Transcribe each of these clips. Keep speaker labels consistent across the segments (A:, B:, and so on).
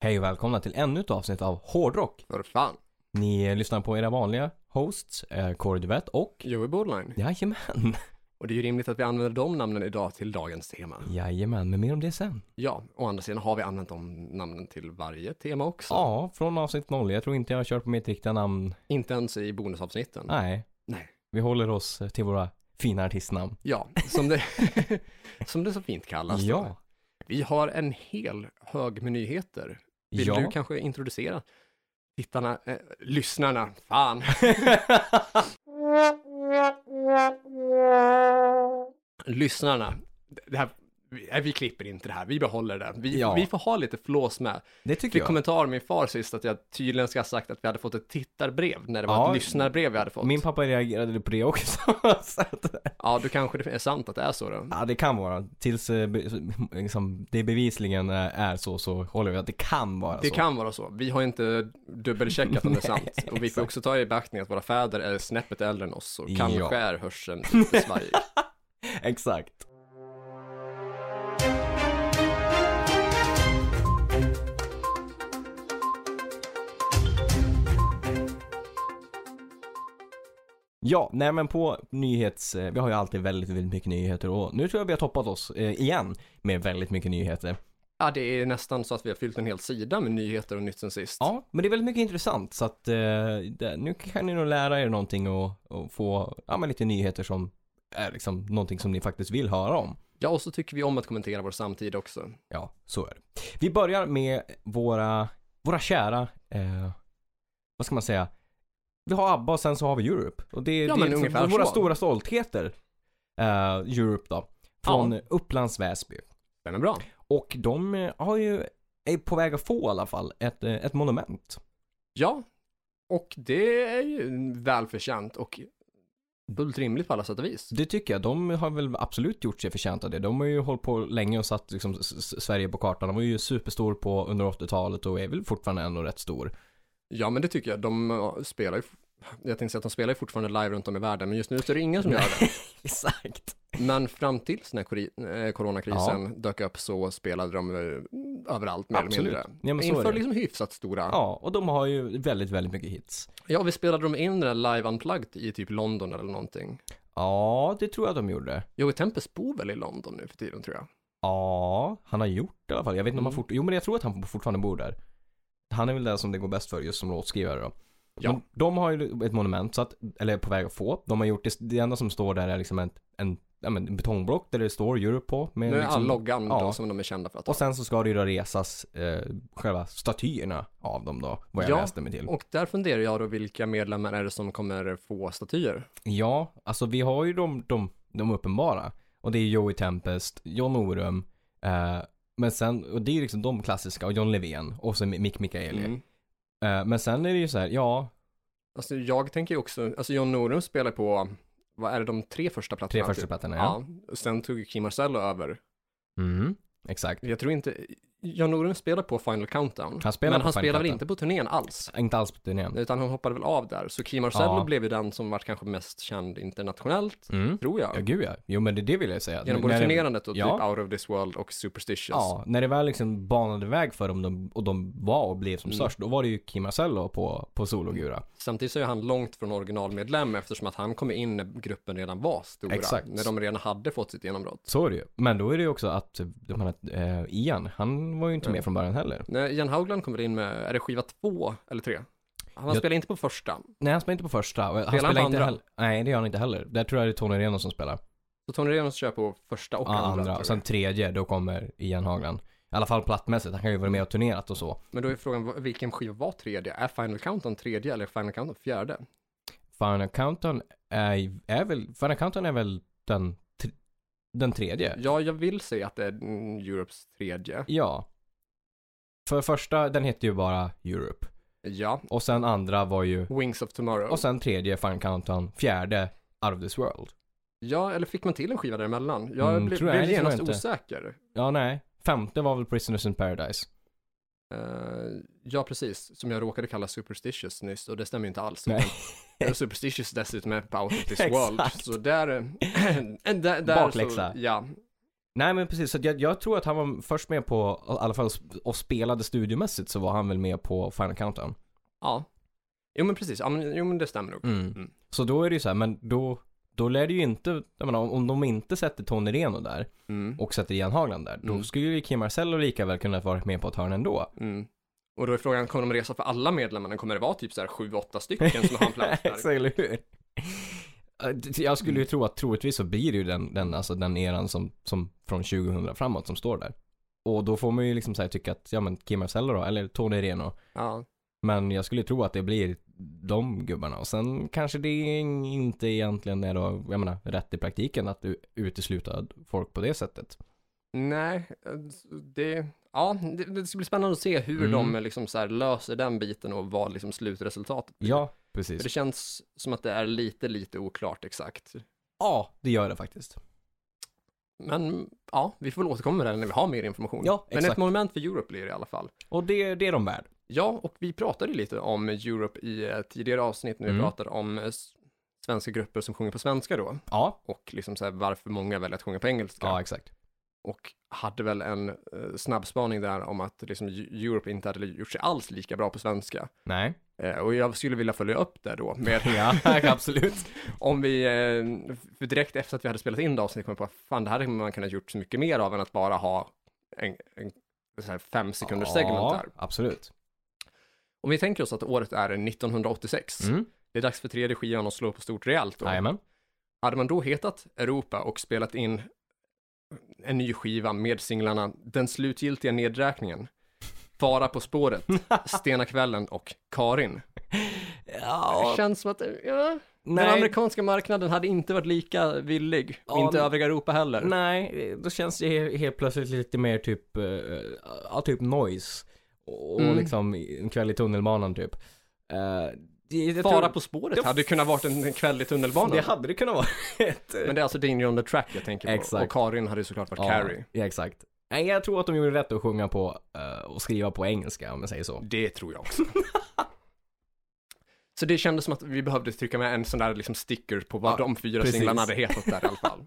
A: Hej och välkomna till ännu ett avsnitt av Hårdrock.
B: För fan.
A: Ni lyssnar på era vanliga hosts, eh, Kåre Duvett och
B: Joey Borderline.
A: Jajamän.
B: Och det är ju rimligt att vi använder de namnen idag till dagens tema.
A: Jajamän, men mer om det sen.
B: Ja, å andra sidan har vi använt de namnen till varje tema också.
A: Ja, från avsnitt noll. Jag tror inte jag har kört på mitt riktiga namn.
B: Inte ens i bonusavsnitten.
A: Nej,
B: Nej.
A: vi håller oss till våra fina artistnamn.
B: Ja, som det, som det så fint kallas.
A: Ja,
B: Vi har en hel hög med nyheter. Vill
A: ja.
B: du kanske introducera tittarna, eh, lyssnarna, fan, lyssnarna. Det här, vi, nej, vi klipper inte det här, vi behåller det. Vi,
A: Ja.
B: vi får ha lite flås med.
A: det tycker
B: fick
A: jag.
B: kommentar av min far sist att jag tydligen ska ha sagt att vi hade fått ett tittarbrev när det var
A: Ja.
B: ett lyssnarbrev vi hade fått.
A: Min pappa reagerade på det också. så att,
B: Ja, då kanske det är sant att det är så då.
A: ja, det kan vara. Tills eh, be, liksom, det bevisligen eh, är så, så håller vi att det kan vara
B: Det
A: så.
B: kan vara så. Vi har inte dubbelcheckat om det är sant. Och vi får också ta i beaktning att våra fäder är snäppet äldre än oss och kanske
A: Ja.
B: är hörseln lite svajig.
A: Exakt. Ja, nej men på nyhets... eh, Vi har ju alltid väldigt, väldigt mycket nyheter och nu tror jag vi har toppat oss eh, igen med väldigt mycket nyheter.
B: Ja, det är nästan så att vi har fyllt en hel sida med nyheter och nytt sen sist.
A: Ja, men det är väldigt mycket intressant så att eh, det, nu kan ni nog lära er någonting och, och få, ja men lite nyheter som är liksom någonting som ni faktiskt vill höra om.
B: Ja, och så tycker vi om att kommentera vår samtid också.
A: Ja, så är det. Vi börjar med våra, våra kära, eh, vad ska man säga? Vi har ABBA och sen så har vi Europe. Och det,
B: Ja,
A: det
B: men
A: är liksom
B: ungefär
A: våra
B: så.
A: stora stoltheter, eh, Europe då. Från Upplands Väsby.
B: Den är bra.
A: Och de eh, har ju, är på väg att få i alla fall, ett, eh, ett monument.
B: Ja, och det är ju välförtjänt och fullt rimligt på alla sätt och vis.
A: Det tycker jag. De har väl absolut gjort sig förtjänta av det. De har ju hållit på länge och satt liksom, s- s- Sverige på kartan. De var ju superstor på under 80-talet och är väl fortfarande ändå rätt stor.
B: Ja, men det tycker jag. De eh, spelar ju, jag tänkte säga att de spelar ju fortfarande live runt om i världen, men just nu så är det ingen som gör det.
A: Exakt.
B: Men fram tills när kori- eh, coronakrisen dök upp så spelade de eh, överallt mer
A: Absolut.
B: eller mindre.
A: Ja, men så är
B: Inför
A: det.
B: liksom hyfsat stora. Ja.
A: Ja, och de har ju väldigt, väldigt mycket hits.
B: vi spelade de in det där live unplugged i typ London eller någonting.
A: Ja, det tror jag de gjorde.
B: Joey Tempest bor väl i London nu för tiden tror jag.
A: Ja, han har gjort det i alla fall. Jag vet inte om han
B: Mm.
A: fortfarande, jo men jag tror att han fortfarande bor där. Han är väl den som det går bäst för just som låtskrivare då.
B: Ja.
A: Men de har ju ett monument, så att, eller är på väg att få. De har gjort det, det enda som står där är liksom en, en, ja, men en betongblock där det står Europe på. Med
B: nu är
A: liksom,
B: all loggan
A: ja.
B: då som de är kända för att ha.
A: och sen så ska det ju då resas eh, själva statyerna av dem då, vad jag
B: Ja.
A: läste mig till.
B: Och där funderar jag då vilka medlemmar är det som kommer få statyer?
A: Ja, alltså vi har ju de, de, de uppenbara. Och det är Joey Tempest, John Orum, eh, men sen, och det är ju liksom de klassiska, och John Levén, och så Mick Mikaeli.
B: Mm.
A: Eh, men sen är det ju så här, ja,
B: Alltså jag tänker ju också, alltså John Norum spelar på, vad är det de tre första plattorna?
A: tre första plattorna, ja.
B: Ja, och sen tog ju Kim Marcello över.
A: Mm, exakt.
B: Jag tror inte, John Norum spelar på Final Countdown.
A: Han spelar
B: men
A: på
B: han
A: Final
B: spelar väl
A: Countdown.
B: inte på turnén alls?
A: Inte alls på turnén.
B: Utan han hoppade väl av där. Så Kim Marcello
A: Ja.
B: blev ju den som vart kanske mest känd internationellt,
A: Mm.
B: tror jag.
A: Ja, gud ja. Jo, men det, det vill jag säga.
B: Genom
A: N-
B: både
A: när det-
B: turnerandet och
A: Ja.
B: typ Out of this world och Superstitious.
A: Ja, när det väl liksom banade väg för dem de, och de var och blev som
B: Mm.
A: störst, då var det ju Kim Marcello på, på sologura.
B: Samtidigt så är han långt från originalmedlem eftersom att han kom in när gruppen redan var stora.
A: Exakt.
B: När de redan hade fått sitt genombrott.
A: Så är det ju. Men då är det ju också att, de här, eh, Ian, han var ju inte med från början heller.
B: När Jan Haugland kommer in med, är det skiva två eller tre? Han
A: Jag-
B: spelar inte på första.
A: Nej, han spelar inte på första. Han
B: han
A: spelar,
B: på
A: inte
B: andra?
A: heller. Nej, det gör han inte heller. Där tror jag det är Tony Reno som spelar.
B: Så Tony Renos kör på första och
A: Ja,
B: andra.
A: Ah, andra.
B: tror
A: Och
B: jag.
A: sen tredje, då kommer Ian Hagland. I alla fall plattmässigt. Han kan ju vara med och turnerat och så.
B: Men då är frågan, vad- vilken skiva var tredje? Är Final Countdown tredje eller är Final Countdown fjärde?
A: Final Countdown är, är väl, Final Countdown är väl den, tr- den tredje?
B: Ja, jag vill säga att det är mm, Europes tredje.
A: Ja. För första, den heter ju bara Europe.
B: Ja,
A: Och sen andra var ju,
B: Wings of Tomorrow.
A: och sen tredje Final Countdown, fjärde Out of this world.
B: Ja, eller fick man till en skiva däremellan? Jag
A: Mm,
B: blev,
A: tror jag,
B: blev
A: det tror jag
B: genast
A: inte.
B: osäker.
A: Ja, nej. Femte var väl Prisoners in Paradise.
B: Eh, ja, precis. Som jag råkade kalla Superstitious nyss och det stämmer ju inte alls.
A: Nej.
B: Utan Superstitious dessutom är på Out of this
A: Exakt.
B: world. Så där... eh, där, där
A: Bakläxa.
B: Så, ja.
A: Nej men precis, så att jag, jag tror att han var först med på, i alla fall sp- och spelade studiomässigt så var han väl med på Final Countdown.
B: Ja. Jo men precis, ja, men, jo men det stämmer nog. Mm.
A: Så då är det ju så här, men då, då lär det ju inte, jag menar, om, om de inte sätter Tony Reno där
B: Mm.
A: och sätter Ian Hagland där, då
B: Mm.
A: skulle ju Kim Marcello lika väl kunna vara med på ett hörn ändå.
B: Mm. Och då är frågan, kommer de resa för alla medlemmarna? Kommer det vara typ så här sju, åtta stycken som har en plats där?
A: Exakt, eller hur? Eh, Jag skulle ju tro att troligtvis så blir det ju den, den, alltså den eran som, som från 2000 framåt som står där. Och då får man ju liksom så här tycka att, ja men Kim Marcello då, eller Tony Reno.
B: Ja.
A: Men jag skulle tro att det blir de gubbarna. Och sen kanske det inte egentligen är då, jag menar, rätt i praktiken att du utesluta folk på det sättet.
B: Nej, det, ja, det, det ska bli spännande att se hur
A: Mm.
B: de liksom så här löser den biten och vad liksom slutresultatet blir.
A: Ja,
B: För
A: precis.
B: det känns som att det är lite, lite oklart exakt.
A: Ja, det gör det faktiskt.
B: Men ja, vi får väl återkomma med det här när vi har mer information.
A: Ja,
B: Men
A: exakt.
B: ett moment för Europe blir det i alla fall.
A: Och det, det är de värd.
B: Ja, och vi pratade ju lite om Europe i ett tidigare avsnitt när vi
A: Mm.
B: pratade om eh, s- svenska grupper som sjunger på svenska då.
A: Ja,
B: Och liksom så här varför många väljer att sjunga på engelska.
A: ja exakt.
B: Och hade väl en eh, snabbspaning där om att liksom Eu- Europe inte hade gjort sig alls lika bra på svenska.
A: Nej.
B: Eh, och jag skulle vilja följa upp det då med
A: Ja, absolut.
B: om vi, eh, för direkt efter att vi hade spelat in det avsnittet kom jag på, fan det här hade man kunnat gjort så mycket mer av än att bara ha en, en så här fem sekunders segment där.
A: absolut.
B: Om vi tänker oss att året är 1986,
A: Mm.
B: det är dags för tredje skivan att slå på stort rejält då.
A: Jajamän.
B: Hade man då hetat Europa och spelat in en ny skiva med singlarna Den slutgiltiga nedräkningen, Fara på spåret, Stena kvällen och Karin.
A: Ja,
B: Känns som att ja, den
A: nej,
B: amerikanska marknaden hade inte varit lika villig, och
A: Ja,
B: inte
A: men-
B: övriga Europa heller.
A: nej, då känns det he- helt plötsligt lite mer typ, eh, ja typ noise. Och
B: Mm.
A: liksom en kväll i tunnelbanan typ. Eh, det- jag
B: Fara
A: tror-
B: på spåret
A: Ja,
B: hade kunnat varit en kväll i tunnelbanan.
A: Det hade det kunnat vara. Ett,
B: Men det är alltså Danger on the track jag tänker på.
A: Exakt.
B: Och Karin hade ju såklart varit
A: ja,
B: Carrie.
A: Ja, exakt. Nej, jag tror att de gjorde rätt att sjunga på eh, och skriva på engelska om jag säger så.
B: Det tror jag också. Så det kändes som att vi behövde trycka med en sån där liksom sticker på vad
A: Ja,
B: de fyra
A: precis.
B: singlarna hade hetat där i alla fall.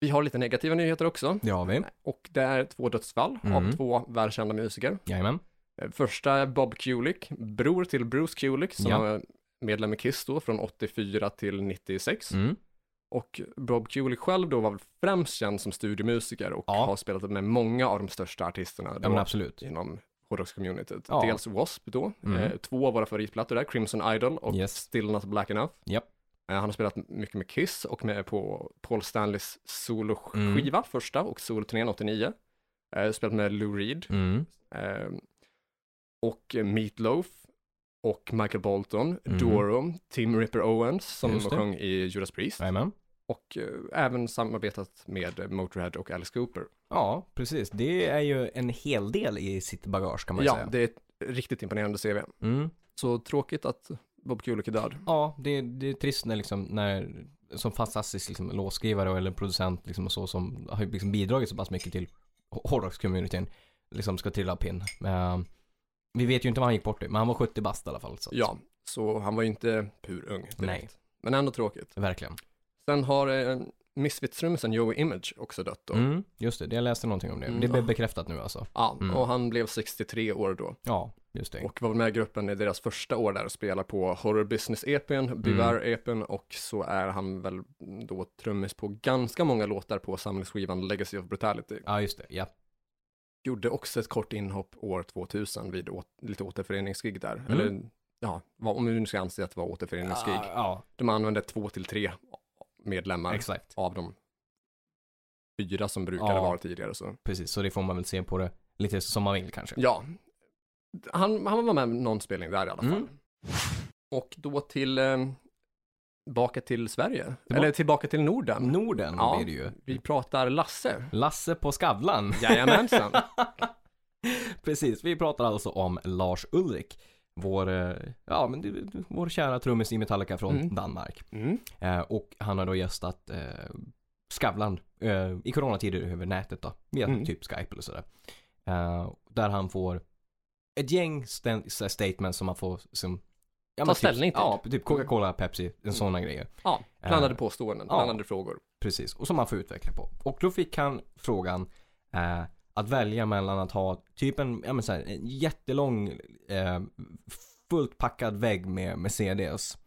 B: Vi har lite negativa nyheter också.
A: Det har vi.
B: Och det är två dödsfall
A: Mm.
B: av två välkända musiker.
A: Jajamän.
B: Eh, Första är Bob Kulick, bror till Bruce Kulick, som
A: Ja.
B: var medlem i Kiss då, från 84 till 96.
A: Mm.
B: Och Bob Kulick själv då var väl främst känd som studiomusiker och
A: Ja.
B: har spelat med många av de största artisterna
A: Ja
B: då
A: men absolut.
B: inom hårdrockscommunityt.
A: Ja.
B: Dels Wasp då,
A: Mm.
B: eh, två av våra favoritplattor där, Crimson Idol och
A: Yes.
B: Still Not Black Enough.
A: Japp.
B: Eh, han har spelat mycket med Kiss och med på Paul Stanleys soloskiva,
A: Mm.
B: första, och soloturnén 89. Eh, spelat med Lou Reed
A: Mm.
B: eh, och Meat Loaf och Michael Bolton,
A: Mm.
B: Doro, Tim Ripper Owens som
A: Just det.
B: sjöng i Judas Priest
A: Jajamän.
B: och eh, även samarbetat med eh, Motörhead och Alice Cooper.
A: Ja, precis. Det är ju en hel del i sitt bagage kan man ju
B: Ja,
A: säga.
B: det är ett riktigt imponerande CV.
A: Mm.
B: Så tråkigt att Bob Kulick är död.
A: Ja, det, det är trist när liksom, när, som fantastisk liksom, låtskrivare och- eller producent liksom, och så som har ju liksom bidragit så pass mycket till h- hårdrockscommunityn, liksom ska trilla av pinn. Eh, vi vet ju inte vad han gick bort i, men han var 70 bast i alla fall. Så att,
B: Ja, så han var ju inte pur ung direkt.
A: Nej.
B: Men ändå tråkigt.
A: Verkligen.
B: Sen har eh, Misfits-trummisen Joey Image också dött då.
A: Mm, just det, jag läste någonting om det.
B: Mm,
A: det blev
B: ja.
A: bekräftat nu alltså.
B: Ja,
A: Mm.
B: och han blev 63 år då
A: Ja, just det.
B: och var med i gruppen i deras första år där och spelar på Horror Business-EPn,
A: Mm.
B: Beware-EPn och så är han väl då trummis på ganska många låtar på samlingsskivan Legacy of Brutality.
A: Ja, just det. Ja.
B: gjorde också ett kort inhopp år 2000 vid å- lite återföreningsgig där.
A: Mm.
B: Eller ja, vad, om vi nu ska anse att det var återföreningsgig.
A: Ja, ja,
B: De använde två till tre medlemmar
A: exakt.
B: av de fyra som brukade
A: Ja.
B: vara tidigare. Så.
A: Precis, så det får man väl se på det lite som man vill kanske.
B: Ja, han, han var med någon spelning där i alla fall.
A: Mm.
B: Och då till, eh, tillbaka till Sverige,
A: Tillba-
B: eller tillbaka till Norden.
A: Mm. Norden
B: Ja.
A: blir det ju.
B: Vi pratar Lasse.
A: Lasse på Skavlan.
B: Jajamensan.
A: Precis, vi pratar alltså om Lars Ulrik. Vår, eh, ja, men, du- du- vår kära trummis i Metallica från
B: Mm.
A: Danmark.
B: Mm.
A: Eh, och han har då gästat eh, Skavlan eh, i coronatider över nätet då. Via
B: Mm.
A: typ Skype eller sådär. Eh, där han får ett gäng sten- så här statements som man får som, ja,
B: Ta
A: men typ-
B: ställning till.
A: Ja, typ Coca-Cola, Pepsi, en sådana grejer.
B: Ja,
A: Eh,
B: blandade påståenden,
A: ja.
B: blandade frågor.
A: Precis, och som man får utveckla på. Och då fick han frågan eh, att välja mellan att ha typ en, ja, men så här, en jättelång eh, fullt packad vägg med, med CDs.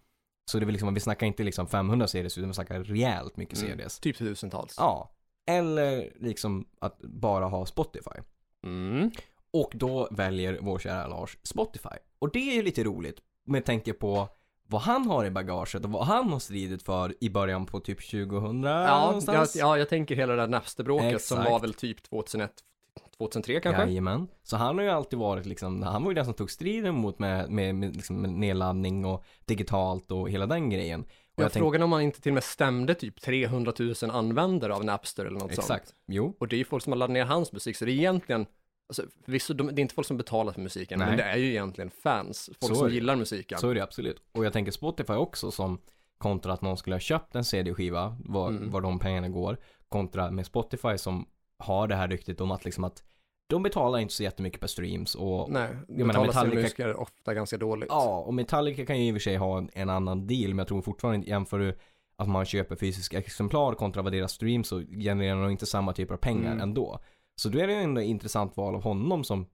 A: Så det vill liksom, vi snackar inte liksom 500 CDs utan vi snackar rejält mycket
B: Mm.
A: CDs.
B: Typ tusentals.
A: Ja, eller liksom att bara ha Spotify.
B: Mm.
A: Och då väljer vår kära Lars Spotify. Och det är ju lite roligt med tanke på vad han har i bagaget och vad han har stridit för i början på typ 2000
B: Ja, jag,
A: någonstans.
B: ja, jag tänker hela det där Napsterbråket som
A: Exakt.
B: var väl typ 2001, 2003 kanske.
A: Jajamän. Så han har ju alltid varit liksom, han var ju den som tog striden mot med, med, med, liksom, med nedladdning och digitalt och hela den grejen. Och
B: jag
A: tänkte-
B: frågade om man inte till och med stämde typ 300 000 användare av Napster eller något sånt.
A: Exakt, jo.
B: Och det är ju folk som har laddat ner hans musik, så det är egentligen, alltså, visst, de, det är inte folk som betalar för musiken,
A: Nej.
B: men det är ju egentligen fans, folk
A: Så är
B: som
A: det.
B: gillar musiken.
A: Så är det absolut. Och jag tänker Spotify också som kontra att någon skulle ha köpt en CD-skiva, var,
B: Mm.
A: var de pengarna går, kontra med Spotify som har det här ryktet om att liksom att de betalar inte så jättemycket per streams och
B: Nej,
A: menar,
B: betalar sina
A: Metallica-
B: musiker ofta ganska dåligt.
A: ja, och Metallica kan ju i och för sig ha en, en annan deal, men jag tror fortfarande jämför du att man köper fysiska exemplar kontra vad deras streams så genererar de inte samma typ av pengar
B: Mm.
A: ändå. Så då är det ju ändå ett intressant val av honom som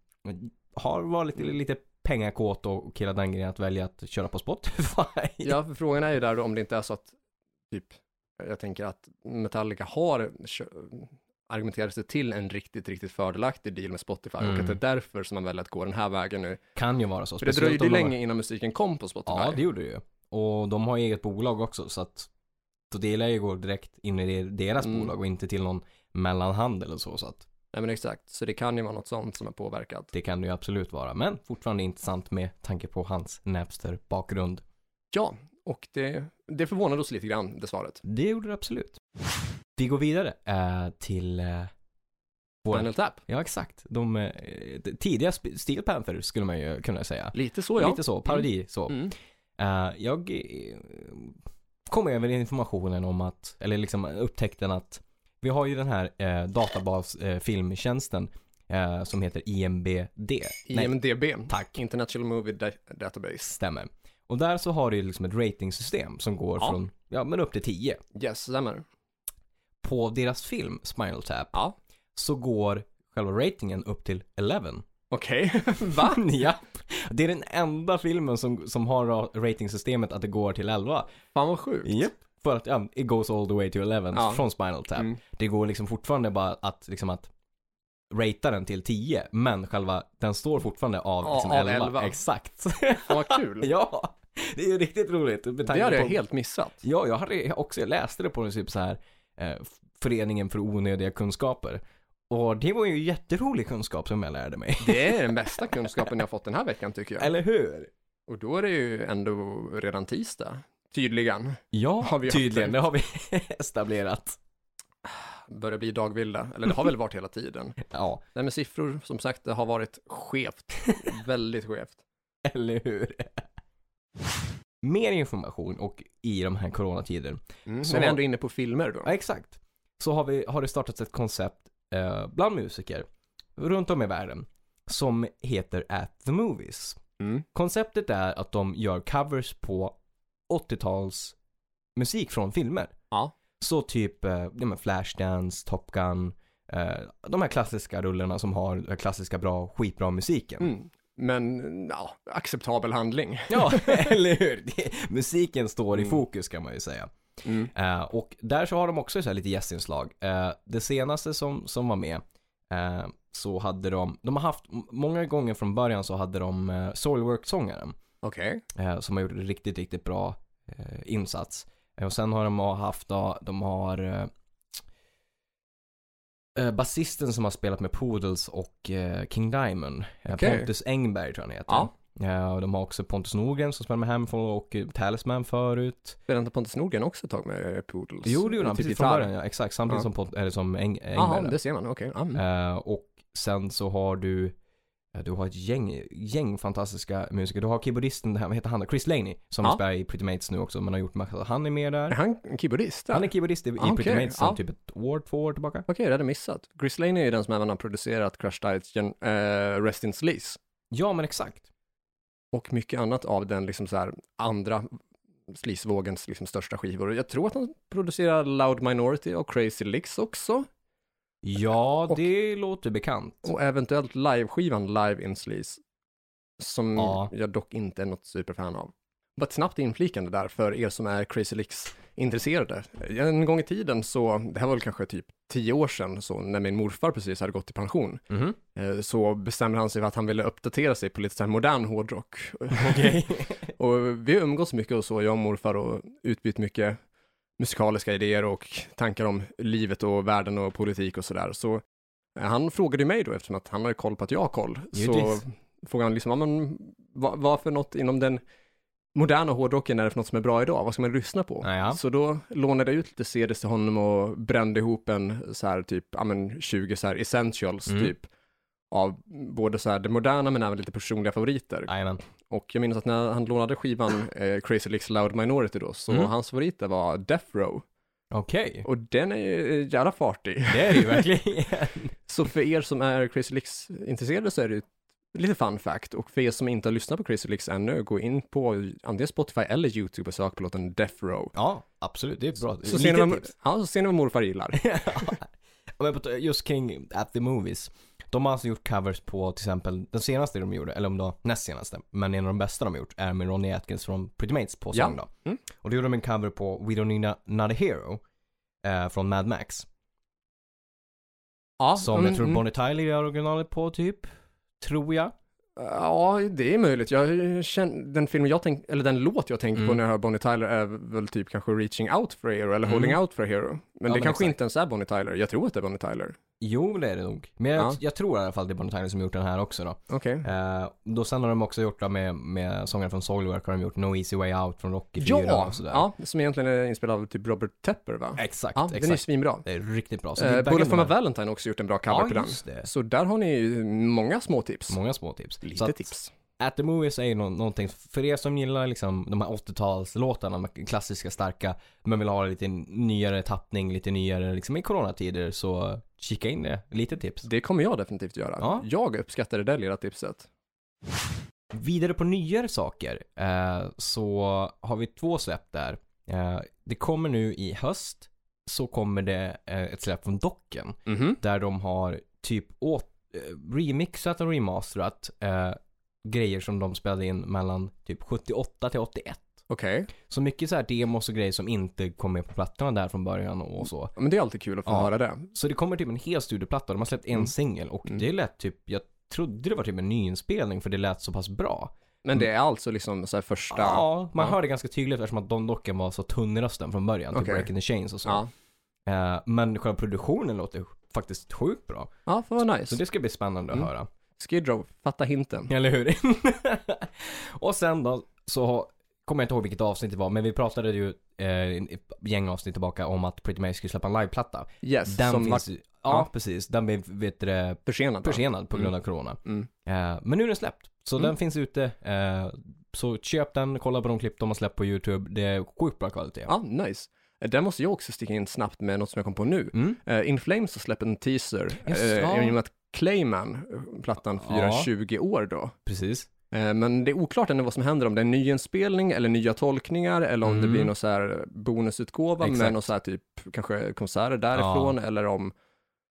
A: har varit
B: Mm.
A: lite, lite pengakåt och, och hela den grejen att välja att köra på Spotify.
B: Ja, för frågan är ju där då om det inte är så att, typ, jag tänker att Metallica har kö- argumenterat sig till en riktigt, riktigt fördelaktig deal med Spotify och
A: Mm.
B: att det är därför som man väljer att gå den här vägen nu.
A: Kan ju vara så.
B: För det
A: speciellt
B: dröjde
A: om
B: ju
A: de var-
B: länge innan musiken kom på Spotify.
A: Ja, det gjorde det ju. Och de har ju eget bolag också så att så det lär ju gå direkt in i det- deras
B: Mm.
A: bolag och inte till någon mellanhand eller så. Så att
B: Nej, men exakt, så det kan ju vara något sånt som har påverkat.
A: det kan det ju absolut vara. Men fortfarande intressant med tanke på hans Napster-bakgrund.
B: Ja, och det, det förvånade oss lite grann, det svaret.
A: Det gjorde det absolut. Vi går vidare eh, till eh, vår-
B: Daniel Tapp,
A: Ja, exakt. De eh, de tidiga sp- Steel Panther skulle man ju kunna säga.
B: lite så ja.
A: Lite så, parodi så.
B: Mm.
A: Eh, jag eh, kom över informationen om att, eller liksom upptäckten att vi har ju den här eh, databasfilmtjänsten eh, som heter IMBD. Nej,
B: IMDB,
A: tack.
B: International Movie Da- Database.
A: Stämmer. Och där så har du ju liksom ett ratingsystem som går
B: Ja.
A: från, ja men upp till 10.
B: Yes, stämmer.
A: På deras film Spinal Tap
B: Ja.
A: så går själva ratingen upp till 11.
B: Okej, va?
A: ja. Det är den enda filmen som, som har ra- ratingsystemet att det går till 11.
B: Fan vad sjukt.
A: Japp. För att, ja, it goes all the way to 11
B: Ja.
A: från Spinal Tap.
B: Mm.
A: Det går liksom fortfarande bara att, liksom att ratea den till 10, men själva, den står fortfarande av,
B: Ja,
A: liksom
B: av
A: 11.
B: 11.
A: Exakt.
B: Fan vad kul.
A: ja, det är ju riktigt roligt. med
B: Det
A: tanke
B: hade jag
A: på-
B: helt missat.
A: Ja, jag hade jag också, jag läste det på en typ så här, eh, Föreningen för onödiga kunskaper. Och det var ju jätterolig kunskap som jag lärde mig.
B: Det är den bästa kunskapen jag fått den här veckan tycker jag.
A: Eller hur?
B: Och då är det ju ändå redan tisdag, tydligen.
A: Ja,
B: Har vi haft
A: tydligen.
B: det?
A: Det har vi etablerat.
B: Börjar bli dagvilda, eller det har väl varit hela tiden.
A: Ja,
B: Det här med siffror, som sagt, det har varit skevt. Väldigt skevt.
A: eller hur? Mer information och i de här coronatider
B: Mm.
A: Så-
B: Men vi är ändå inne på filmer då.
A: Ja, exakt. Så har, vi, har det startats ett koncept eh, bland musiker runt om i världen som heter At the Movies.
B: Mm.
A: Konceptet är att de gör covers på 80-tals musik från filmer.
B: Ja.
A: Så typ eh, ja, men Flashdance, Top Gun, eh, de här klassiska rullarna som har den klassiska bra, skitbra musiken.
B: Mm. Men, ja, acceptabel handling.
A: Ja, eller hur? Det, musiken står i
B: Mm.
A: fokus kan man ju säga.
B: Mm.
A: Eh, och där så har de också så här lite gästinslag. Eh, det senaste som, som var med eh, så hade de, de har haft, m- många gånger från början så hade de eh, Soilwork-sångaren
B: Okej.
A: eh, som har gjort en riktigt, riktigt bra eh, insats. Eh, och sen har de haft, ja, de har eh, eh, basisten som har spelat med Poodles och eh, King Diamond, eh,
B: Okej.
A: Pontus Engberg tror jag han heter.
B: Ja.
A: Eh, och de har också Pontus Norgren som spelar med Hamfall och eh, Talisman förut.
B: Spelade inte Pontus Nordgren också ett tag med eh, Poodles?
A: Jo, det gjorde han
B: Typ
A: precis från
B: gitarr.
A: början, ja, exakt. Samtidigt
B: Ja.
A: som, Pont- eller som Eng-
B: Jaha,
A: Engberg.
B: det ser man, okej. Ja, mm.
A: Eh, och sen så har du, ja, du har ett gäng, gäng fantastiska musiker. Du har keyboardisten, det här, vad heter han då? Chris Laney, som
B: Ja.
A: spelar i Pretty Mates nu också, men har gjort massa, han är med
B: Är
A: där.
B: han keyboardist? där?
A: Han är keyboardist i, i
B: Ah,
A: Pretty
B: okej.
A: Mates sedan
B: Ja.
A: typ ett år, två år tillbaka.
B: Okej, det hade jag missat. Chris Lane är ju den som även har producerat Crush Diets gen- eh, Rest in Sleaze
A: Ja, men exakt.
B: och mycket annat av den liksom så här andra sleazevågens liksom största skivor. Och Jag tror att han producerar Loud Minority och Crazy Licks också.
A: Ja,
B: Och-
A: det låter bekant.
B: Och eventuellt liveskivan Live in Sleaze. Som
A: Ja.
B: jag dock inte är något superfan av. Bara ett snabbt inflikande där för er som är Crazy Licks-intresserade. En gång i tiden så, det här var väl kanske typ tio år sedan, så när min morfar precis hade gått i pension,
A: Mhm.
B: eh, så bestämde han sig för att han ville uppdatera sig på lite så här modern hårdrock.
A: Okej.
B: Och vi har umgåtts mycket och så, jag och morfar, och utbytt mycket musikaliska idéer och tankar om livet och världen och politik och sådär. Så eh, han frågade ju mig då, eftersom att han har ju koll på att jag har koll, så
A: Givetvis.
B: frågade han liksom, ja, men, vad, vad för något inom den moderna hårdrocken är det för något som är bra idag? Vad ska man lyssna på?
A: Naja.
B: Så då lånade jag ut lite CDs till honom och brände ihop en så här typ, ja men 20 så här essentials
A: Mm.
B: typ av både så här det moderna men även lite personliga favoriter.
A: Jajamän.
B: Och jag minns att när han lånade skivan eh, Crazy Licks Loud Minority då, så
A: Mm.
B: hans favorit där var Death Row.
A: Okej.
B: Och den är ju eh, jävla fartig.
A: Det är det ju verkligen.
B: Så för er som är Crazy Licks-intresserade så är det ju lite fun fact. Och för er som inte har lyssnat på Crazy Licks ännu, gå in på antingen Spotify eller YouTube och sök på låten Death Row.
A: ja, absolut. Det är bra.
B: Så ser,
A: Lite
B: ni vad,
A: tips.
B: ja, så ser ni vad morfar gillar.
A: Ja, men på t- just kring At the Movies. De har alltså gjort covers på till exempel den senaste de gjorde, eller om det var näst senaste, men en av de bästa de har gjort är med Ronnie Atkins från Pretty Mates på
B: Ja.
A: sång då.
B: Mm.
A: Och då gjorde de en cover på We Don't Need a- Not a Hero eh, från Mad Max.
B: Ja,
A: Som
B: mm,
A: jag tror
B: mm.
A: Bonnie Tyler gör originalet på typ. Tror jag.
B: Ja, det är möjligt. Jag känner, den film jag tänk, eller den låt jag tänker på
A: Mm.
B: när jag hör Bonnie Tyler är väl typ kanske Reaching Out for a Hero eller
A: Mm.
B: Holding Out for a Hero. Men det
A: men
B: kanske
A: exakt.
B: inte ens är Bonnie Tyler. Jag tror att det är Bonnie Tyler.
A: Jo, det är det nog. Men jag,
B: Ja.
A: jag tror i alla fall det är Bonnie Tyler som har gjort den här också då.
B: Okej.
A: Eh, då sen har de också gjort det med, med sångaren från Soilwork har de gjort No Easy Way Out från Rocky 4
B: Ja,
A: och sådär.
B: ja, som egentligen är inspelad av typ Robert Tepper va?
A: Exakt,
B: Ja, den är ju
A: exakt.
B: svinbra.
A: Det är riktigt bra. Så det
B: Eh,
A: verkar
B: Bullet
A: inte
B: for my
A: vara-
B: Valentine har också gjort en bra cover på
A: Ja,
B: den.
A: just det.
B: Så där har ni ju många små tips.
A: Många små tips. Så
B: Lite
A: att
B: tips.
A: At the Movies är ju nå- någonting, för er som gillar liksom de här 80-talslåtarna, de här klassiska starka, men vill ha lite nyare tappning, lite nyare liksom i coronatider, så kika in det. Lite tips.
B: Det kommer jag definitivt göra.
A: Ja.
B: Jag uppskattar det där lilla tipset.
A: Vidare på nyare saker eh, så har vi två släpp där. Eh, det kommer nu i höst så kommer det eh, ett släpp från Docken
B: Mhm.
A: där de har typ åt, eh, remixat och remasterat eh, grejer som de spelade in mellan typ 78 till 81.
B: Okej,
A: Så mycket så här demos och grejer som inte kom med på plattorna där från början och så.
B: men det är alltid kul att få
A: Ja.
B: höra det.
A: Så det kommer typ en hel studioplatta. De har släppt en
B: Mm.
A: singel och
B: Mm.
A: det lät typ, jag trodde det var typ en nyinspelning för det lät så pass bra.
B: Men det är alltså liksom så här första...
A: Mm. Ja, man
B: Ja.
A: hör det ganska tydligt eftersom att Don Docken var så tunn i rösten från början, typ
B: Okej.
A: Breaking the Chains och så.
B: ja.
A: Eh, men själva produktionen låter faktiskt sjukt bra.
B: Ja, fan vad nice.
A: Så det ska bli spännande
B: Mm.
A: att höra.
B: Skid Row, fatta hinten.
A: Eller hur? och sen då så kommer jag inte ihåg vilket avsnitt det var, men vi pratade ju eh, ett gäng avsnitt tillbaka om att Pretty Mary skulle släppa en liveplatta.
B: Yes,
A: Den
B: som
A: finns
B: var
A: ju, ja,
B: ja.
A: precis, den blev vet du, det,
B: försenad. va?
A: försenad på grund av corona.
B: Mm.
A: Eh, men nu är den släppt, så
B: Mm.
A: den finns ute. Eh, så köp den, kolla på de klipp de har släppt på YouTube. Det är sjukt bra kvalitet.
B: Ja, nice. Eh, Där måste jag också sticka in snabbt med något som jag kom på nu.
A: Mm.
B: Uh, In Flames har släppt en teaser
A: Just,
B: eh,
A: ja.
B: i och med att Clayman, eh, plattan, firar
A: Ja.
B: 20 år då.
A: Precis.
B: Eh, Men det är oklart ännu vad som händer, om det är en nyinspelning eller nya tolkningar eller om det
A: Mm.
B: blir någon så här bonusutgåva med
A: Exakt.
B: någon så här typ kanske konserter därifrån eller om,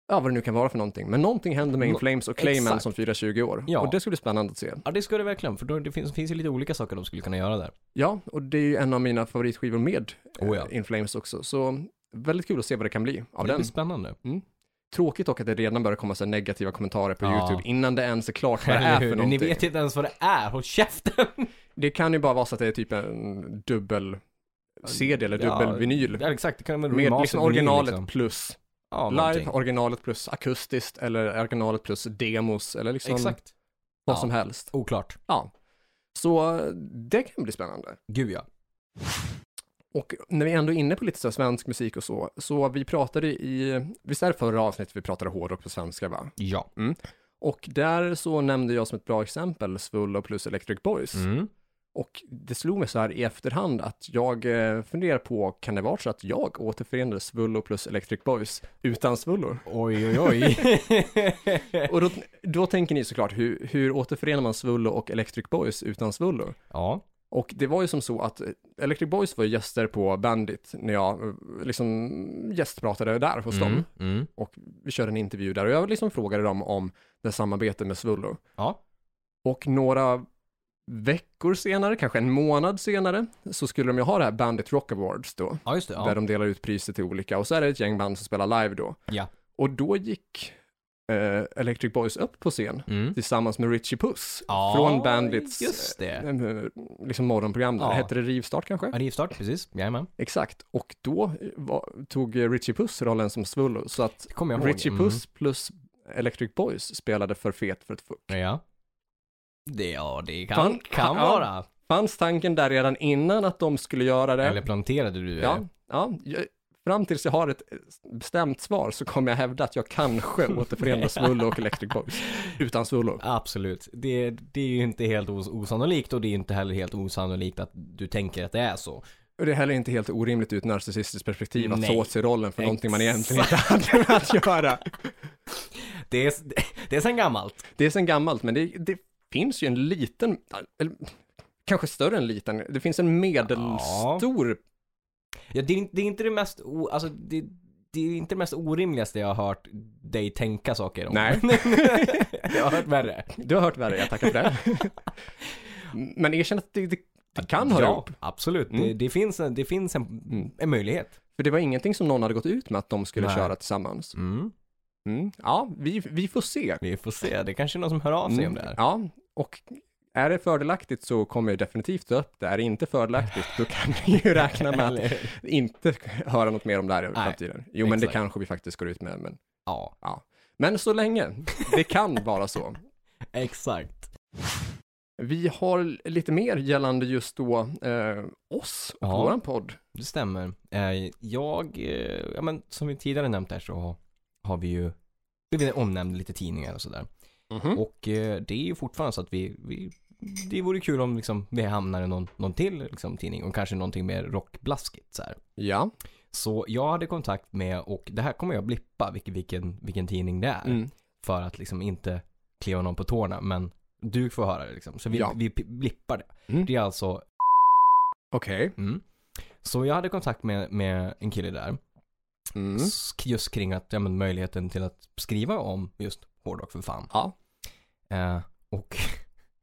B: ja vad det nu kan vara för någonting. Men någonting händer med In
A: Nå-
B: Flames och Clayman
A: exakt.
B: som firar 20 år
A: Ja.
B: och det ska bli spännande att se.
A: Ja, det ska det verkligen. För då, det finns, finns ju lite olika saker de skulle kunna göra där.
B: Ja, och det är ju en av mina favoritskivor med eh,
A: Oh ja.
B: In Flames också, så väldigt kul att se vad det kan bli av
A: det
B: den.
A: blir spännande.
B: Tråkigt dock att det redan börjar komma så här negativa kommentarer på
A: Ja.
B: YouTube innan det ens är klart vad det är
A: Eller
B: för
A: hur? Ni
B: någonting.
A: vet inte ens vad det är. Håll käften!
B: Det kan ju bara vara så att det är typ en dubbel CD eller
A: Ja,
B: dubbel vinyl.
A: Ja, exakt. Det kan vara
B: Med
A: remastered
B: liksom
A: vinyl,
B: originalet
A: liksom.
B: plus
A: Ja,
B: live,
A: någonting.
B: originalet plus akustiskt eller originalet plus demos eller liksom
A: Exakt.
B: vad
A: Ja.
B: som helst.
A: Oklart.
B: Ja. Så eh, det kan bli spännande.
A: Gud ja.
B: Och när vi ändå är inne på lite så här svensk musik och så, så vi pratade i, visst är det förra avsnittet vi pratade hårdrock på svenska va?
A: Ja.
B: Och där så nämnde jag som ett bra exempel Svullo plus Electric Boys.
A: Mm.
B: Och det slog mig så här i efterhand att jag eh, funderar på, kan det vara så att jag återförenade Svullo plus Electric Boys utan Svullo?
A: Oj, oj, oj.
B: Och då, då tänker ni såklart, hur, hur återförenar man Svullo och Electric Boys utan Svullo?
A: ja.
B: Och det var ju som så att eh, Electric Boys var ju gäster på Bandit när jag eh, liksom gästpratade där hos dem.
A: Mm, mm.
B: Och vi körde en intervju där och jag liksom frågade dem om det samarbete med Svullo.
A: Ja.
B: Och några veckor senare, kanske en månad senare, så skulle de ju ha det här Bandit Rock Awards då.
A: ja, just det.
B: Där
A: Ja.
B: de delar ut priser till olika och så är det ett gäng band som spelar live då.
A: Ja.
B: Och då gick eh, Electric Boys upp på scen
A: Mm.
B: tillsammans med Richie Puss
A: Ja,
B: från Bandits
A: just det.
B: eh, eh, liksom morgonprogram där.
A: Ja.
B: Hette det Rivstart kanske?
A: Ja, Rivstart, precis. Jajamän.
B: Exakt. Och då eh, var, tog eh, Richie Puss rollen som Svullo så att
A: Det kommer jag ihåg. Mm.
B: Richie Puss plus Electric Boys spelade för fet för ett fuck.
A: Mm. Ja. Det, ja, det kan,
B: Fan,
A: kan
B: ja.
A: vara.
B: Fanns tanken där redan innan att de skulle göra det?
A: Eller planterade du det?
B: Ja, ja. Jag, fram tills jag har ett eh, bestämt svar så kommer jag hävda att jag kanske återförenar Svullo och Electric Boys. Utan Svullo.
A: Absolut. Det, det är ju inte helt os- osannolikt och det är inte heller helt osannolikt att du tänker att det är så.
B: Och det är heller inte helt orimligt ur ett narcissistiskt perspektiv att
A: Nej.
B: ta åt sig rollen för någonting man egentligen inte
A: Exakt.
B: hade med att göra.
A: Det är, det är sen gammalt.
B: Det är sen gammalt, men det, det finns ju en liten, eller kanske större än liten, det finns en medelstor,
A: Ja, det, är, in- det är inte det mest, o, alltså, det, det är inte det mest orimligaste jag har hört dig tänka saker om.
B: Nej.
A: jag har hört värre.
B: du har hört värre, jag tackar för det. Men erkänn att det, det, det kan höra
A: ja,
B: ihop.
A: absolut. Det,
B: Mm.
A: det finns, en, det finns en, en möjlighet.
B: För det var ingenting som någon hade gått ut med att de skulle
A: Nej.
B: köra tillsammans.
A: Mm.
B: Mm. Ja, vi, vi får se.
A: Vi får se. Det kanske är någon som hör av sig
B: Mm.
A: om det här.
B: Ja, och är det fördelaktigt så kommer jag definitivt ta upp det. Är det inte fördelaktigt då kan vi ju räkna med att
A: Eller-
B: inte höra något mer om det här i
A: Nej,
B: framtiden. Jo, men det
A: exakt.
B: kanske vi faktiskt går ut med. Men,
A: ja,
B: men så länge, det kan vara så.
A: exakt.
B: Vi har lite mer gällande just då eh, oss och
A: Ja.
B: våran podd.
A: Det stämmer. Eh, Jag, eh, ja men som vi tidigare nämnt här så har vi ju blivit omnämnda i lite tidningar och sådär.
B: Mhm.
A: Och eh, det är ju fortfarande så att vi, vi det vore kul om liksom, vi hamnar i någon, någon till liksom, tidning och kanske någonting mer rockblaskigt så här.
B: Ja,
A: Så jag hade kontakt med, och det här kommer jag blippa vilken, vilken, vilken tidning det är.
B: mm.
A: För att liksom inte kliva någon på tårna, men du får höra det liksom. Så vi,
B: Ja.
A: vi p- blippar det.
B: Mm.
A: Det är alltså
B: okej.
A: Mm. Så jag hade kontakt med, med en kille där.
B: Mm.
A: s- Just kring att, ja, men möjligheten till att skriva om just hårdrock för fan.
B: Ja.
A: Eh, och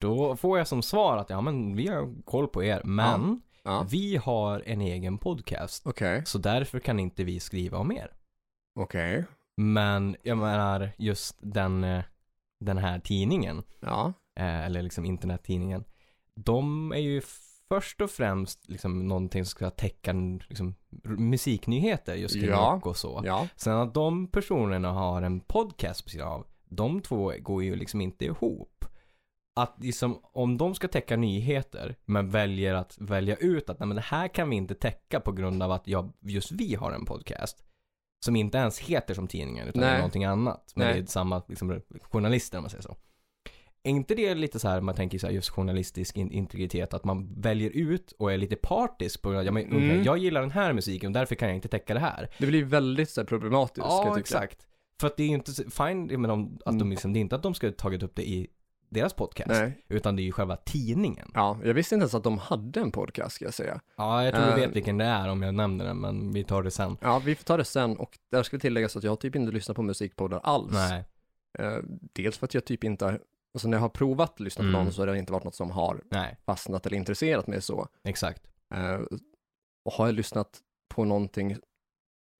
A: då får jag som svar att ja men vi har koll på er men
B: Ja.
A: vi har en egen podcast.
B: Okej,
A: Så därför kan inte vi skriva om er.
B: okej.
A: Men jag menar just den, eh, den här tidningen,
B: Ja,
A: eh, eller liksom internettidningen. De är ju först och främst liksom någonting som ska täcka en, liksom, r- musiknyheter just kring
B: Ja.
A: rock och så.
B: ja.
A: Sen att de personerna har en podcast på sidan av, de två går ju liksom inte ihop. Att liksom, om de ska täcka nyheter, men väljer att välja ut att nej, men det här kan vi inte täcka på grund av att jag, just vi har en podcast. Som inte ens heter som tidningen, utan
B: Nej.
A: är någonting annat. Men
B: Nej.
A: det är samma liksom, journalister om man säger så. Är inte det lite så här, man tänker så här, just journalistisk in- integritet, att man väljer ut och är lite partisk på grund av, ja, men, okej,
B: Mm.
A: jag gillar den här musiken och därför kan jag inte täcka det här.
B: Det blir väldigt så här, problematiskt. kan jag
A: Ja,
B: tycka.
A: exakt. För att det är ju inte, så- fine, jag menar, om, att de
B: Mm.
A: liksom, det är inte att de skulle tagit upp det i deras podcast,
B: Nej.
A: utan det är ju själva tidningen.
B: Ja, jag visste inte ens att de hade en podcast ska jag säga.
A: Ja, jag tror
B: Eh.
A: du vet vilken det är om jag nämner den, men vi tar det sen.
B: Ja, vi får ta det sen och där ska tilläggas att jag har typ inte lyssnat på musikpoddar alls.
A: Nej,
B: Eh, dels för att jag typ inte, har- alltså när jag har provat att lyssna på
A: Mm.
B: någon så har det inte varit något som har
A: nej,
B: fastnat eller intresserat mig så.
A: exakt.
B: Eh, och har jag lyssnat på någonting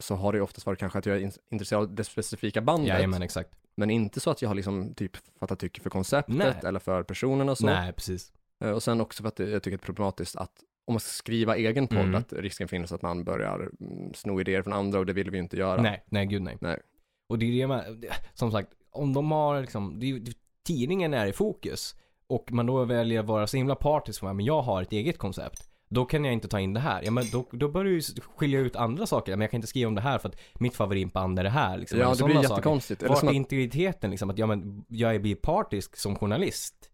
B: så har det oftast varit kanske att jag är in- intresserad av det specifika bandet,
A: Jajamän, exakt.
B: men inte så att jag har liksom typ fattat tycke för konceptet
A: Nej.
B: eller för personerna och så.
A: Nej, precis.
B: Eh, Och sen också för att det- jag tycker det är problematiskt att om man ska skriva egen podd,
A: Mm.
B: att risken finns att man börjar mm, sno idéer från andra och det vill vi ju inte göra.
A: Nej, nej, gud nej.
B: Nej.
A: Och det är det man, det- som sagt, om de har liksom, det, är ju- det, tidningen är i fokus och man då väljer att vara så himla partisk för men jag har ett eget koncept. Då kan jag inte ta in det här. Ja, men då, då börjar du ju skilja ut andra saker. Men jag kan inte skriva om det här för att mitt favoritband är det här. Liksom,
B: Ja,
A: Eller
B: det
A: sådana
B: blir
A: saker.
B: jättekonstigt. Eller
A: Vart
B: som
A: är
B: att,
A: integriteten liksom? Att ja, men jag är bipartisk som journalist.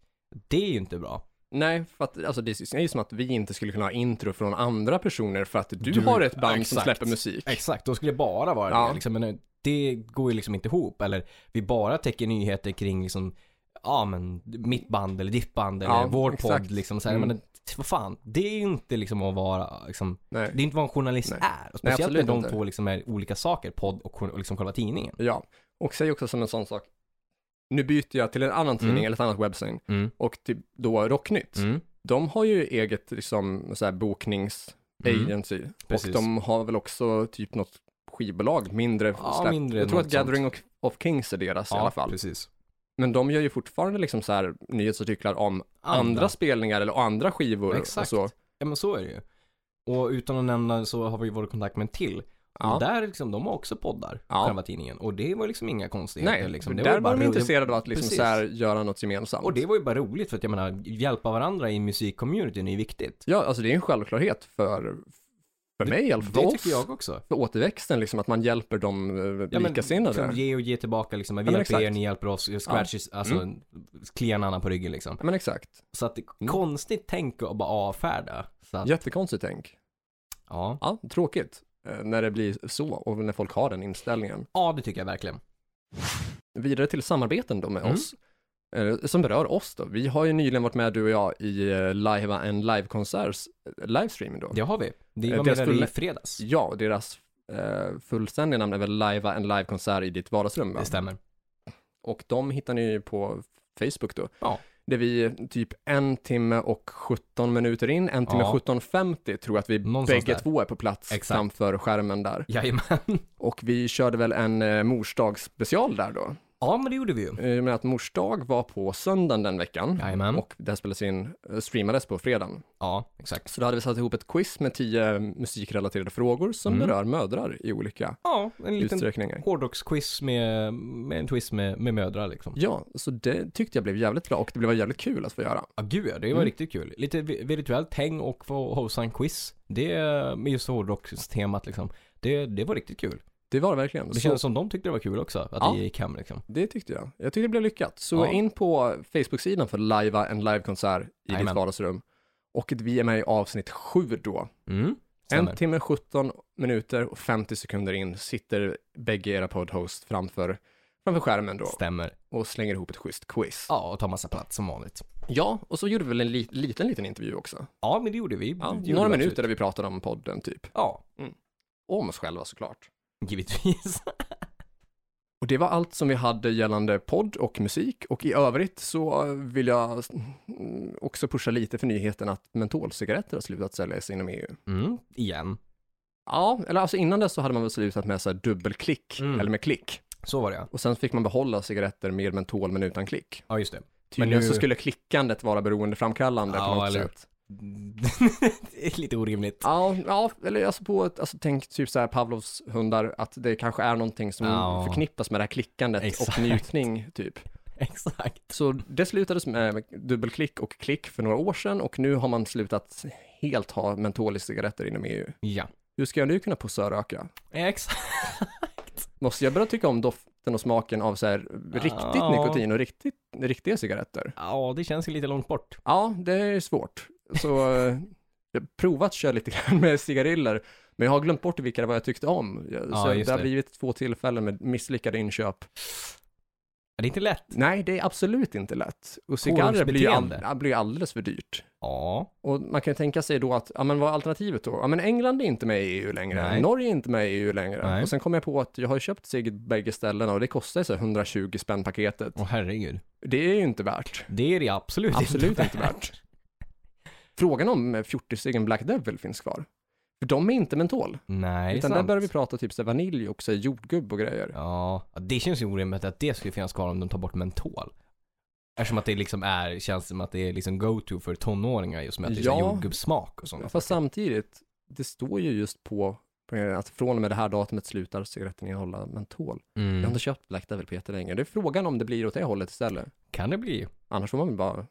A: Det är ju inte bra.
B: nej, för att, alltså, det är ju som att vi inte skulle kunna ha intro från andra personer för att du,
A: Du-
B: har ett band som
A: exakt.
B: släpper musik.
A: Exakt, då skulle det eh, bara vara
B: Ja.
A: det. Liksom, men det går ju liksom inte ihop. Eller vi bara täcker nyheter kring liksom, ja men mitt band eller ditt band eller
B: Ja,
A: vår
B: exakt.
A: podd liksom så här,
B: Mm.
A: men det- vad fan, det är inte liksom att vara liksom,
B: Nej.
A: det är inte vad en journalist
B: Nej.
A: är. Och speciellt
B: absolut
A: när de
B: inte.
A: två liksom är olika saker, podd och, jour- och liksom själva tidningen.
B: Ja, och säg också som en sån sak. Nu byter jag till en annan tidning
A: Mm.
B: eller ett annat webbsyn
A: Mm.
B: och till då Rocknytt.
A: Mm.
B: De har ju eget liksom så här boknings
A: Mm.
B: agency
A: Precis.
B: och de har väl också typ något skivbolag, mindre
A: Ja,
B: släpp.
A: mindre
B: Jag tror
A: något
B: att Gathering of, of Kings är deras i alla fall.
A: precis.
B: Men de gör ju fortfarande liksom så här nyhetsartiklar om andra, spelningar eller andra skivor
A: Exakt.
B: Alltså, och så.
A: Ja men så är det ju. Och utan att nämna så har vi varit i kontakt med en till.
B: Ja.
A: Och där liksom, de har också poddar,
B: Ja.
A: själva tidningen. Och det var liksom inga konstigheter.
B: Nej,
A: liksom.
B: för där var,
A: bara
B: de
A: ro-
B: intresserade av att liksom
A: Precis.
B: så här göra något gemensamt.
A: Och det var ju bara roligt för att jag menar, hjälpa varandra i musikcommunityn är ju viktigt.
B: Ja, alltså det är en självklarhet för, för mig i alla fall, för
A: Det
B: oss,
A: tycker jag också.
B: för återväxten, liksom att man hjälper de eh,
A: Ja, men
B: likasinnade.
A: liksom Ge och ge tillbaka liksom. Vi
B: men
A: hjälper er,
B: exakt. Mm.
A: ni hjälper oss. Scratches, alltså klia en annan på ryggen liksom.
B: Ja, men exakt.
A: Så att det
B: Mm.
A: är konstigt tänk att bara avfärda. Så att, ja.
B: Jättekonstigt tänk. Ja, tråkigt eh, när det blir så och när folk har den inställningen.
A: ja, det tycker jag verkligen.
B: Vidare till samarbeten då med
A: Mm.
B: oss, eh, som berör oss då. Vi har ju nyligen varit med, du och jag, i eh, Live en livekonserts eh, livestream då.
A: Det har vi. Det
B: Eh,
A: var
B: deras
A: med där i
B: fulla-
A: fredags.
B: Ja, och deras eh, fullständiga namn är väl Live en livekonsert i ditt vardagsrum, va?
A: Det stämmer.
B: Och de hittar ni ju på Facebook då.
A: Ja.
B: Där vi typ en timme och 17 minuter in, en timme
A: Ja.
B: 17.50 tror jag att vi
A: Någonstans
B: bägge
A: där.
B: två är på plats
A: Exakt.
B: framför skärmen där.
A: Jajamän.
B: Och vi körde väl en eh, morsdagsspecial där då.
A: Ja, men det gjorde vi ju.
B: Eh, Men att morsdag var på söndagen den veckan
A: Mm. Jajamän.
B: och det här spelades in, eh, streamades på fredagen.
A: ja, exakt.
B: Så då hade vi satt ihop ett quiz med tio eh, musikrelaterade frågor som
A: Mm.
B: berör mödrar i olika
A: Ja, en liten
B: utsträckningar.
A: hårdrocksquiz med, med en twist med, med mödrar liksom.
B: Ja, så det tyckte jag blev jävligt bra och det blev jävligt kul att få göra.
A: Ja, gud ja, det var
B: Mm.
A: riktigt kul. Lite vi- virtuellt häng och få hosta en quiz. Det, med just hårdrockstemat liksom. Det, det var riktigt kul.
B: Det var det verkligen.
A: Det
B: Så-
A: kändes som de tyckte det var kul också, att
B: Ja.
A: det gick hem liksom.
B: Det tyckte jag. Jag tyckte det blev lyckat. Så
A: Ja.
B: in på Facebook-sidan för Live en livekonsert i ditt
A: Jajamän.
B: vardagsrum. Och att vi är med i avsnitt sju då.
A: Mm,
B: En
A: stämmer.
B: timme, 17 minuter och 50 sekunder in sitter bägge era poddhost framför, framför skärmen då
A: Stämmer.
B: och slänger ihop ett schysst quiz. Ja,
A: Ja, och ta massa plats som vanligt.
B: och så gjorde vi väl en li- liten, liten intervju också.
A: Ja, men det gjorde vi.
B: Ja,
A: Det gjorde
B: några
A: vi
B: minuter
A: absolut.
B: där vi pratade om podden typ.
A: Ja,
B: Och om oss själva såklart.
A: givetvis.
B: Och det var allt som vi hade gällande podd och musik och i övrigt så eh, vill jag mm, också pusha lite för nyheten att mentolcigaretter har slutat säljas inom EU.
A: Mm, igen.
B: Ja, eller alltså innan dess så hade man väl slutat med så här dubbelklick
A: Mm.
B: eller med klick
A: Så var det ja.
B: och sen fick man behålla cigaretter med mentol men utan klick.
A: Ja, just det.
B: Tydligen
A: nu-
B: så skulle klickandet vara beroendeframkallande
A: Ja,
B: på något
A: eller-
B: sätt.
A: det är lite orimligt.
B: Ja, ja, eller alltså på ett, alltså tänk typ så här Pavlovs hundar, att det kanske är någonting som
A: Ja.
B: förknippas med det här klickandet
A: Exakt.
B: och njutning typ.
A: Exakt.
B: Så det slutades med dubbelklick och klick för några år sedan och nu har man slutat helt ha mentol i cigaretter inom EU.
A: Ja.
B: Hur ska jag nu kunna pussa och röka?
A: Exakt.
B: Måste jag börja tycka om doften och smaken av så här riktigt
A: Ja.
B: nikotin och riktigt, riktiga cigaretter?
A: Ja, det känns ju lite långt bort.
B: Ja, det är svårt. Så eh, jag har provat att köra lite grann med cigariller, men jag har glömt bort vilka det var jag tyckte om. Jag-
A: Ja,
B: Så
A: just
B: det har
A: det.
B: blivit två tillfällen med misslyckade inköp.
A: Ja, det är inte lätt.
B: Nej, det är absolut inte lätt. Och cigarrer blir ju
A: Hårdrocksbeteende.
B: all- blir ju alldeles för dyrt.
A: Ja.
B: Och man kan ju tänka sig då att, ja men vad är alternativet då? Ja men England är inte med i EU längre,
A: Nej.
B: Norge är inte med i EU längre.
A: Nej.
B: Och sen kom jag på att jag har ju köpt cigg bägge ställena och det kostar ju så här 120 spänn paketet.
A: Åh herregud.
B: Det är ju inte värt.
A: Det är det absolut,
B: Absolut inte värt. Frågan om eh, 40 ciggen Black Devil finns kvar. För de är inte mentol.
A: Nej,
B: Utan
A: sant.
B: där börjar vi prata typ så här vanilj och så här jordgubb och grejer.
A: Ja, Ja, det känns ju orimligt att det skulle finnas kvar om de tar bort mentol. Eftersom att det liksom är, känns som att det är liksom go-to för tonåringar just med att det är
B: Ja.
A: ja. jordgubbssmak och sånt.
B: Fast samtidigt, det står ju just på eh, att från och med det här datumet slutar cigaretten innehålla mentol. Jag har
A: Mm.
B: inte köpt Black Devil Peter längre. Det är frågan om det blir åt det hållet istället.
A: Kan det bli?
B: Annars får man väl bara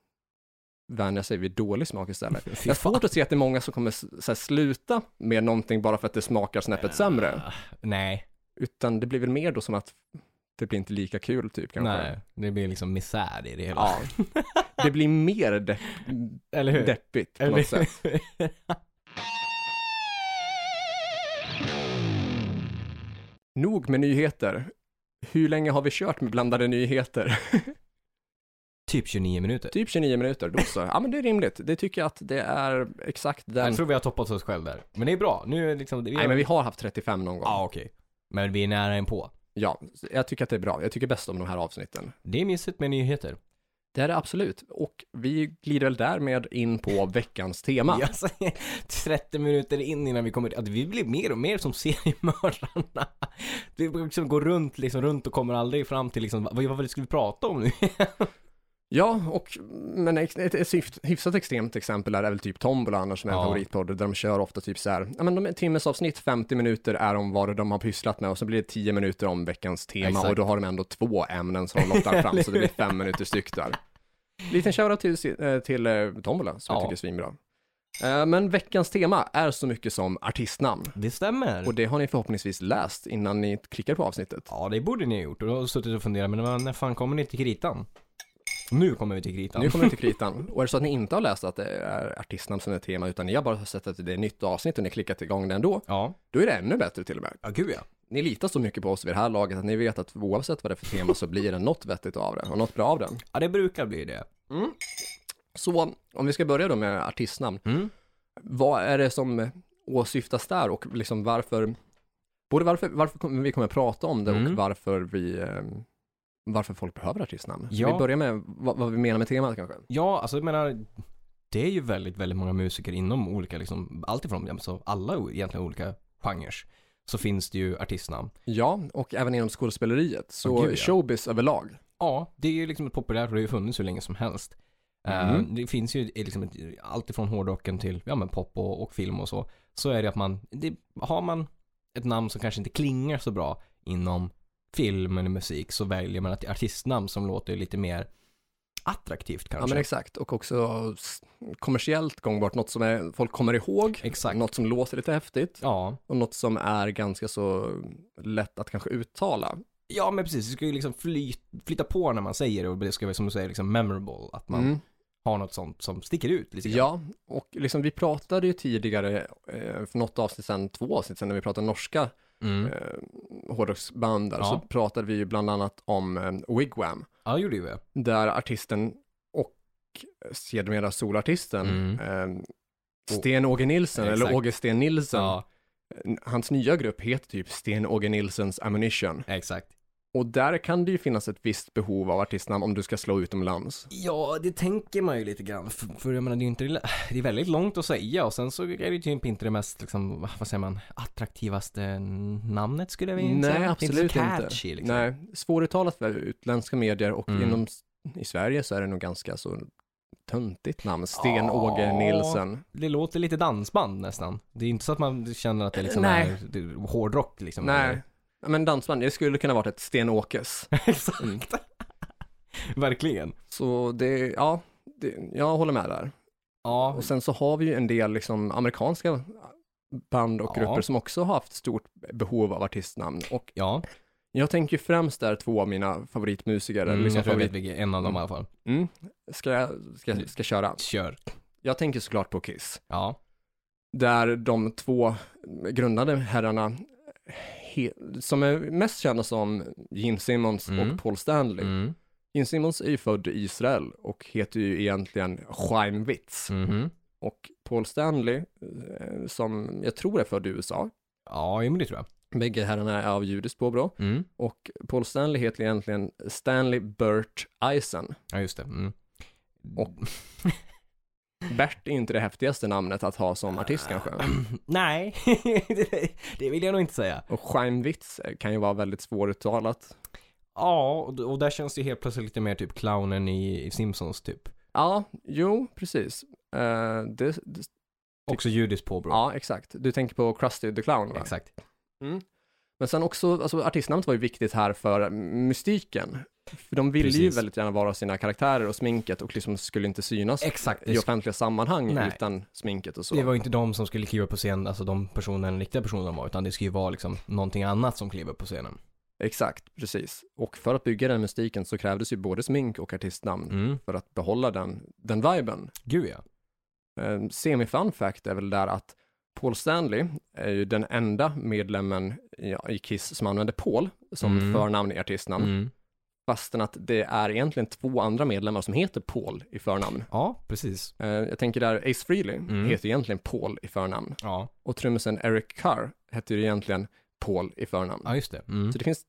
B: vänja sig vid dålig smak istället.
A: Fy
B: Jag har
A: fan.
B: svårt att se att det är många som kommer s- så här, sluta med någonting bara för att det smakar snäppet sämre.
A: Ah, Nej,
B: Utan det blir väl mer då som att det blir inte lika kul typ kanske.
A: nej. Det blir liksom misär i det hela.
B: Ja. Det blir mer depp,
A: Eller hur?
B: deppigt på
A: Eller-
B: något sätt. Nog med nyheter. Hur länge har vi kört med blandade nyheter?
A: Typ 29 minuter.
B: Typ 29 minuter, då så. Ja men det är rimligt. Det tycker jag att det är exakt den...
A: Jag tror vi har toppat oss själv där. Men det är bra. Nu är liksom... Vi
B: Nej men vi har haft 35 någon gång.
A: Ja, okej. Men vi är nära en på.
B: Ja, jag tycker att det är bra. Jag tycker bäst om de här avsnitten.
A: Det är mysigt med nyheter.
B: Det är det absolut. Och vi glider väl därmed in på veckans tema.
A: Jag säger 30 Alltså, minuter in innan vi kommer att vi blir mer och mer som seriemördarna. Vi liksom går runt, liksom runt och kommer aldrig fram till liksom, vad, vad var det skulle vi prata om nu?
B: Ja, och, men ett, ett, ett hyfs- hyfsat extremt exempel är väl typ Tombola annars som är en
A: Ja.
B: favoritpodd, där de kör ofta typ så här, ja men de är timmes avsnitt, 50 minuter är om vad de har pysslat med och så blir det 10 minuter om veckans tema
A: Exakt.
B: och då har de ändå två ämnen som de lottar fram så det blir fem minuter styck där. Liten shoutout till, eh, till eh, Tombola som jag
A: Ja.
B: tycker är svinbra. Eh, Men veckans tema är så mycket som artistnamn
A: Det stämmer.
B: och det har ni förhoppningsvis läst innan ni klickar på avsnittet.
A: Ja, det borde ni ha gjort. Och då har jag suttit och funderat, men när fan kommer ni till kritan? Nu kommer vi till kritan.
B: Nu kommer vi till kritan. Och är det så att ni inte har läst att det är artistnamn som är tema, utan ni har bara sett att det är ett nytt avsnitt och ni har klickat igång det ändå,
A: Ja.
B: då är det ännu bättre till och med.
A: Ja, gud ja.
B: Ni litar så mycket på oss vid det här laget att ni vet att oavsett vad det är för tema så blir det något vettigt av det och något bra av det. Mm.
A: Ja, det brukar bli det.
B: Så om vi ska börja då med artistnamn,
A: Mm.
B: vad är det som åsyftas där och liksom varför, både varför, varför kommer vi kommer att prata om det och
A: Mm.
B: varför vi, eh, varför folk behöver artistnamn?
A: Ja.
B: Vi börjar med vad, vad vi menar med temat kanske.
A: Ja, alltså jag menar, det är ju väldigt, väldigt många musiker inom olika, liksom, alltifrån, alltså alla o- egentligen olika genrer, så finns det ju artistnamn.
B: Ja, och även inom skådespeleriet. Så
A: Åh, gud, ja.
B: showbiz överlag.
A: Ja, det är ju liksom populärt och det har ju funnits hur länge som helst. Eh,
B: Mhm.
A: det finns ju eh, liksom ett, alltifrån hårdrocken till, ja men pop och, och film och så, så är det att man, det, har man ett namn som kanske inte klingar så bra inom film eller musik så väljer man ett artistnamn som låter lite mer attraktivt
B: Ja,
A: kanske.
B: men exakt. Och också s- kommersiellt gångbart. Något som är, folk kommer ihåg.
A: Exakt.
B: Något som låter lite häftigt.
A: Ja,
B: Och något som är ganska så lätt att kanske uttala.
A: Mm, Ja men precis, det ska ju liksom fly, flyta på när man säger det och det ska vara som du säger liksom memorable, att man
B: Mm.
A: har något sånt som sticker ut lite grann.
B: Ja, och liksom vi pratade ju tidigare, eh, för något avsnitt sedan, två avsnitt sedan, när vi pratade norska eh,
A: Mm.
B: hårdrocksband, där,
A: Ja.
B: så pratade vi ju bland annat om eh, Wigwam.
A: Ja, det gjorde ju det.
B: där artisten och sedermera solartisten eh, Sten-Åge Nilsson,
A: Mm. Exakt.
B: eller Åge Sten Nilsson,
A: Ja,
B: hans nya grupp heter typ Sten-Åge Nilssons Ammunition.
A: exakt.
B: Och där kan det ju finnas ett visst behov av artistnamn om du ska slå utomlands.
A: Ja, det tänker man ju lite grann. För, för jag menar, det är ju inte, det är väldigt långt att säga och sen så är det ju typ inte det mest, liksom, vad säger man, attraktivaste namnet skulle jag vilja säga.
B: Nej,
A: Det är
B: absolut
A: inte.
B: inte.
A: så catchy, Liksom.
B: Nej, svåruttalat för utländska medier och
A: Mm.
B: inom, i Sverige så är det nog ganska så töntigt namn, Sten-Åge
A: Ja.
B: Nilsson.
A: Det låter lite dansband nästan. Det är inte så att man känner att det liksom
B: Nej.
A: är det är hårdrock liksom.
B: Nej, men dansband, det skulle kunna varit ett Sten-Åkes.
A: exakt.
B: Mm.
A: Verkligen.
B: Så det, ja, det, jag håller med där.
A: Ja,
B: Och sen så har vi ju en del liksom amerikanska band och
A: Ja.
B: grupper som också har haft stort behov av artistnamn. Och
A: ja.
B: jag tänker ju främst där två av mina favoritmusiker. eller
A: Mm,
B: liksom
A: jag tror jag
B: favorit...
A: vet vilken, en av dem i alla fall.
B: mm, ska, jag, ska, jag- ska jag köra?
A: Kör.
B: Jag tänker såklart på Kiss.
A: Ja.
B: Där de två grundade herrarna, he- som är mest kända som Gene Simmons
A: Mm.
B: och Paul Stanley.
A: Mm.
B: Gene Simmons är ju född i Israel och heter ju egentligen Chaim Witz.
A: Mhm.
B: och Paul Stanley, eh, som jag tror är född i USA.
A: Ja, jo, men det tror jag.
B: Bägge herrarna är av judiskt påbrå.
A: Mm.
B: Och Paul Stanley heter egentligen Stanley Bert Eisen.
A: Ja, just det. Mm.
B: Och- Bert är inte det häftigaste namnet att ha som artist kanske.
A: Nej, det- det vill jag nog inte säga.
B: Och Scheimwitz kan ju vara väldigt svåruttalat.
A: Ja, och, och där känns det helt plötsligt lite mer typ clownen i, i Simpsons typ.
B: Ja, jo, precis. Eh, det, det,
A: Också judiskt påbrå.
B: ja, exakt. Du tänker på Krusty the Clown, va?
A: Exakt.
B: Men sen också, alltså artistnamnet var ju viktigt här för mystiken. För de ville ju
A: Precis.
B: väldigt gärna vara sina karaktärer och sminket och liksom skulle inte synas
A: Exakt.
B: i
A: Det,
B: offentliga sammanhang
A: Nej.
B: utan sminket och så.
A: det var ju inte de som skulle kliva upp på scen, alltså de personerna, den riktiga personen de var, utan det skulle ju vara liksom någonting annat som klev upp på scenen.
B: Exakt, precis. Och för att bygga den mystiken så krävdes ju både smink och artistnamn
A: Mm.
B: för att behålla den, den viben.
A: Gud ja.
B: Eh, Semi-fun fact är väl där att Paul Stanley är ju den enda medlemmen i, i Kiss som använder Paul som
A: Mm.
B: förnamn i artistnamn.
A: Mm.
B: Fastän att det är egentligen två andra medlemmar som heter Paul i förnamn.
A: Ja, precis.
B: Eh, jag tänker där, Ace Frehley
A: Mm.
B: heter egentligen Paul i förnamn.
A: Ja,
B: Och trummisen Eric Carr heter ju egentligen Paul i förnamn.
A: ja just det. Mm.
B: Så det finns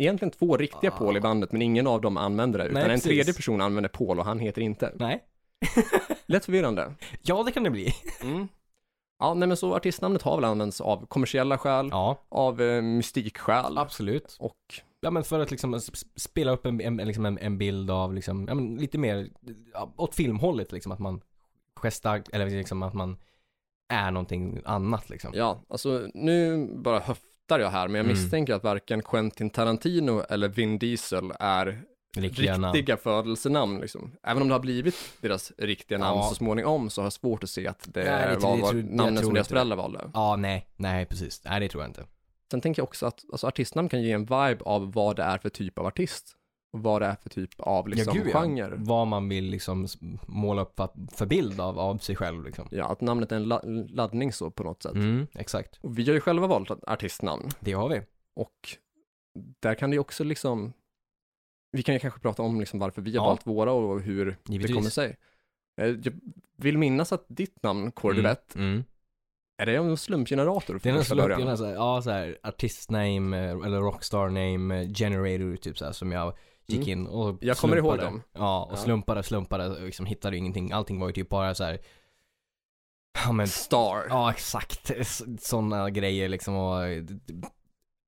B: egentligen två riktiga
A: Ah.
B: Paul i bandet, men ingen av dem använder det. Utan
A: Nej,
B: en
A: precis.
B: tredje person använder Paul och han heter inte.
A: Nej.
B: Lätt förvirrande.
A: Ja, det kan det bli.
B: Mm. Ja, nej men så artistnamnet har väl använts av kommersiella skäl,
A: Ja,
B: av eh, mystikskäl
A: absolut.
B: och
A: Ja men för att liksom sp- spela upp en, en, liksom en, en bild av liksom, ja men lite mer ja, åt filmhållet liksom att man gestar, eller liksom att man är någonting annat liksom.
B: ja, alltså nu bara höftar jag här, men jag
A: Mm.
B: misstänker att varken Quentin Tarantino eller Vin Diesel är
A: Riktiga namn.
B: riktiga födelsenamn liksom. Även om det har blivit deras riktiga namn
A: Ja.
B: så småningom så har jag svårt att se att det
A: Nej, det-
B: var
A: det
B: var
A: tror- jag
B: namnen
A: tror
B: som deras
A: inte det.
B: föräldrar valde.
A: Ja, nej, nej precis. Nej det tror jag inte.
B: Sen tänker jag också att alltså, artistnamn kan ge en vibe av vad det är för typ av artist och vad det är för typ av liksom,
A: gud,
B: genre.
A: Vad man vill liksom s- måla upp för- för bild av, av sig själv liksom.
B: Ja, att namnet är en la- laddning så på något sätt.
A: Mm, exakt.
B: Och vi har ju själva valt ett artistnamn
A: Det har vi.
B: och där kan det ju också liksom, vi kan ju kanske prata om liksom varför vi har
A: Ja.
B: valt våra och hur det
A: Givetvis.
B: kommer sig. Eh, Jag vill minnas att ditt namn, Cordivett,
A: Mm. Mm.
B: är det en slumpgenerator?
A: Det är
B: från
A: någon
B: första
A: slump,
B: början?
A: jag har så här, ja så här artistname eh, eller rockstar name eh, generator typ så här, som jag gick in och
B: Mm. Jag kommer ihåg
A: slumpade.
B: dem.
A: Ja, och
B: Ja.
A: slumpade, slumpade och liksom hittade ingenting. Allting var ju typ bara så här. Ja men,
B: Star.
A: ja exakt. Sådana grejer liksom och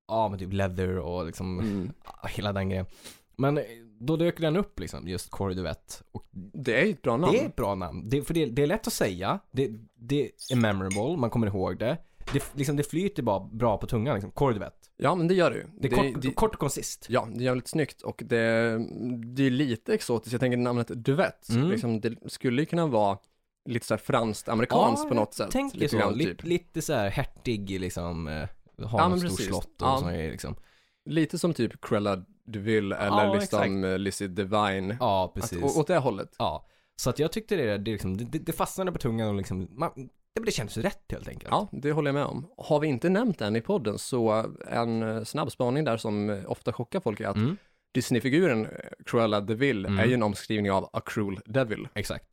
A: ja men typ leather och liksom
B: Mm.
A: hela den grejen. Men eh, då dök den upp liksom, just Corey Duvett. Och
B: Det är ju ett bra namn.
A: det är ett bra namn. Det, för det, det är lätt att säga. Det, det är memorable, man kommer ihåg det. Det, liksom, det flyter bara bra på tungan liksom. Cordivett.
B: Ja, men det gör det ju.
A: Det är kort, kort och koncist.
B: Ja, det är jävligt snyggt och det, det är lite exotiskt. Jag tänker namnet Duvett,
A: Mm.
B: liksom, det skulle ju kunna vara lite så här franskt amerikanskt på något sätt.
A: Tänk
B: lite
A: så.
B: grann,
A: lite,
B: typ.
A: lite så här hertig liksom. eh, Har
B: Ja,
A: ja,
B: men
A: stort
B: precis.
A: slott och
B: Ja.
A: såna grejer liksom.
B: Lite som typ Cruella DeVille eller
A: Ja,
B: liksom eh, Lizzie Divine.
A: Ja,
B: Att,
A: precis.
B: å- åt det hållet.
A: Ja. Så att jag tyckte det, det, liksom, det, det fastnade på tungan och liksom, man, det, det kändes rätt helt enkelt.
B: Ja, det håller jag med om. Har vi inte nämnt den i podden så eh, en eh, snabb spaning där som eh, ofta chockar folk är att
A: Mm.
B: Disney-figuren eh, Cruella DeVille
A: Mm.
B: är ju en omskrivning av A Cruel Devil.
A: Exakt.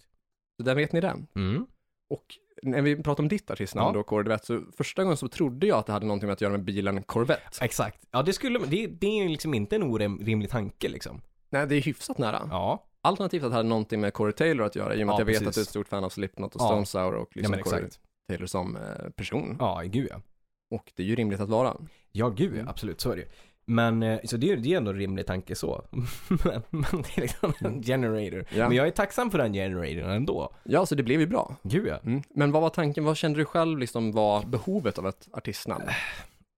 B: Så där vet ni den.
A: Mm.
B: Och när vi pratar om ditt artistnamn
A: Ja.
B: då, Corvette, så första gången så trodde jag att det hade någonting med att göra med bilen Corvette.
A: Exakt. Ja, det skulle, det, det är ju liksom inte en orimlig tanke liksom.
B: Nej, det är hyfsat nära.
A: Ja.
B: Alternativt att det hade någonting med Corey Taylor att göra, i och med
A: Ja,
B: att jag vet
A: precis.
B: att du är ett stort fan av Slipknot och
A: Ja.
B: Stone Sour och
A: ja
B: liksom
A: men
B: Corey
A: exakt.
B: Taylor som eh, person.
A: Ja, gud ja.
B: Och det är ju rimligt att vara.
A: Ja, gud ja,
B: Mm.
A: absolut, så är det ju. Men, eh, så det är ju det är ändå en rimlig tanke så. men, men det är liksom en generator.
B: Mm. Ja.
A: Men jag är tacksam för den generatorn ändå.
B: Ja, så det blev ju bra.
A: Gud ja.
B: Mm. Men vad var tanken, vad kände du själv liksom var behovet av ett artistnamn?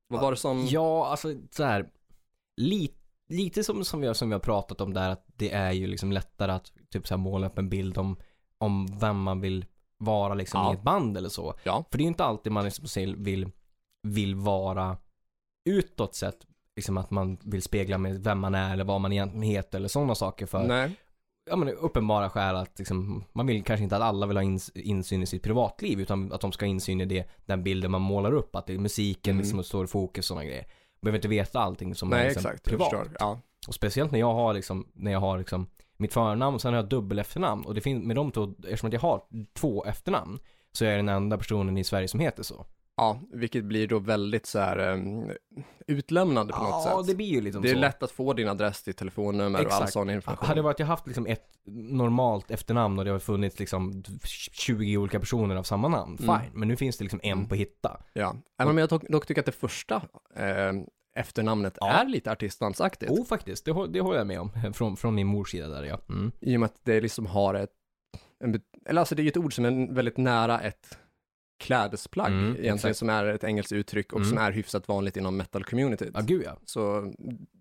B: Vad var det som...
A: Ja, alltså så här. Lite, lite som, som, jag, som vi har pratat om där, att det är ju liksom lättare att typ så här, måla upp en bild om, om vem man vill vara liksom
B: Ja.
A: i ett band eller så.
B: Ja.
A: För det är ju inte alltid man liksom ser- vill, vill vara utåt sett. Liksom att man vill spegla med vem man är eller vad man egentligen heter eller sådana saker för
B: Nej.
A: ja, men uppenbara skäl att liksom, man vill kanske inte att alla vill ha ins- insyn i sitt privatliv utan att de ska ha insyn i det, den bilden man målar upp. Att det är musiken
B: Mm.
A: liksom står i fokus och sådana grejer. Man behöver inte veta allting som
B: Nej,
A: är liksom,
B: exakt. Jag
A: privat.
B: förstår. Ja.
A: Och speciellt när jag har liksom, när jag har liksom mitt förnamn och sen har jag dubbel efternamn. Och det finns, med de två, eftersom att jag har två efternamn så är jag den enda personen i Sverige som heter så.
B: ja, vilket blir då väldigt så här eh, utlämnande på något sätt.
A: det blir ju liksom
B: Det är
A: så.
B: lätt att få din adress, ditt telefonnummer och all
A: Exakt.
B: sån information.
A: Hade det varit jag haft liksom ett normalt efternamn och det har funnits liksom 20 olika personer av samma namn, fine.
B: Mm.
A: Men nu finns det liksom en
B: Mm.
A: på hitta.
B: Ja. Även om jag dock, dock tycker att det första eh, efternamnet är lite artistnamnsaktigt.
A: Jo, Oh, faktiskt. Det, hå- det håller jag med om. Från, från min mors sida där, ja. Mm.
B: I och med att det liksom har ett, en, bet- eller alltså det är ju ett ord som är väldigt nära ett klädesplagg
A: Mm,
B: egentligen,
A: exakt.
B: som är ett engelskt uttryck och
A: Mm.
B: som är hyfsat vanligt inom metal-communityt.
A: Ja, gud ja.
B: Så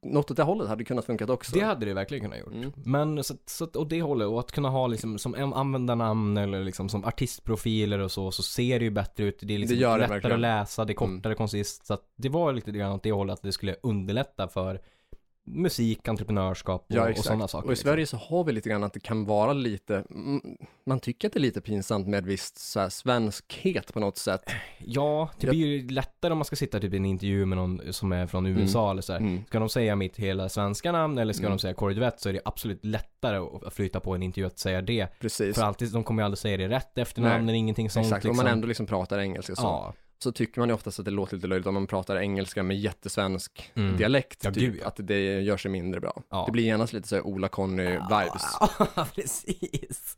B: något åt det hållet hade kunnat funkat också.
A: Det hade det verkligen kunnat gjort.
B: Mm.
A: Men så, att- så att åt det hållet, och att kunna ha liksom som en- användarnamn eller liksom som artistprofiler och så, så ser det ju bättre ut. Det är liksom
B: Det gör det
A: lättare
B: verkligen.
A: att läsa, det är
B: Mm.
A: kortare koncist. Så att det var lite grann åt det hållet att det skulle underlätta för musik, entreprenörskap och,
B: Ja,
A: och
B: exakt.
A: sådana saker. liksom.
B: Och i Sverige så har vi lite grann att det kan vara lite, mm, man tycker att det är lite pinsamt med visst så här svenskhet på något sätt.
A: liksom. Ja, det
B: Jag-
A: blir ju lättare om man ska sitta typ i en intervju med någon som är från USA eller så här. Ska de säga mitt hela svenska namn eller ska
B: Mm.
A: de säga Kåre Duvett så är det absolut lättare att- att flyta på en intervju att säga det.
B: Precis,
A: För alltid, de kommer ju aldrig säga det rätt efternamn
B: Nej.
A: eller ingenting sånt.
B: exakt. Om
A: liksom.
B: man ändå liksom pratar engelska så,
A: Ja,
B: så tycker man ju oftast att det låter lite löjligt om man pratar engelska med jättesvensk
A: Mm.
B: dialekt.
A: Ja,
B: typ,
A: gud, ja.
B: Att det gör sig mindre bra.
A: Ja.
B: Det blir genast lite så här Ola-Conny-vibes.
A: Ja, precis.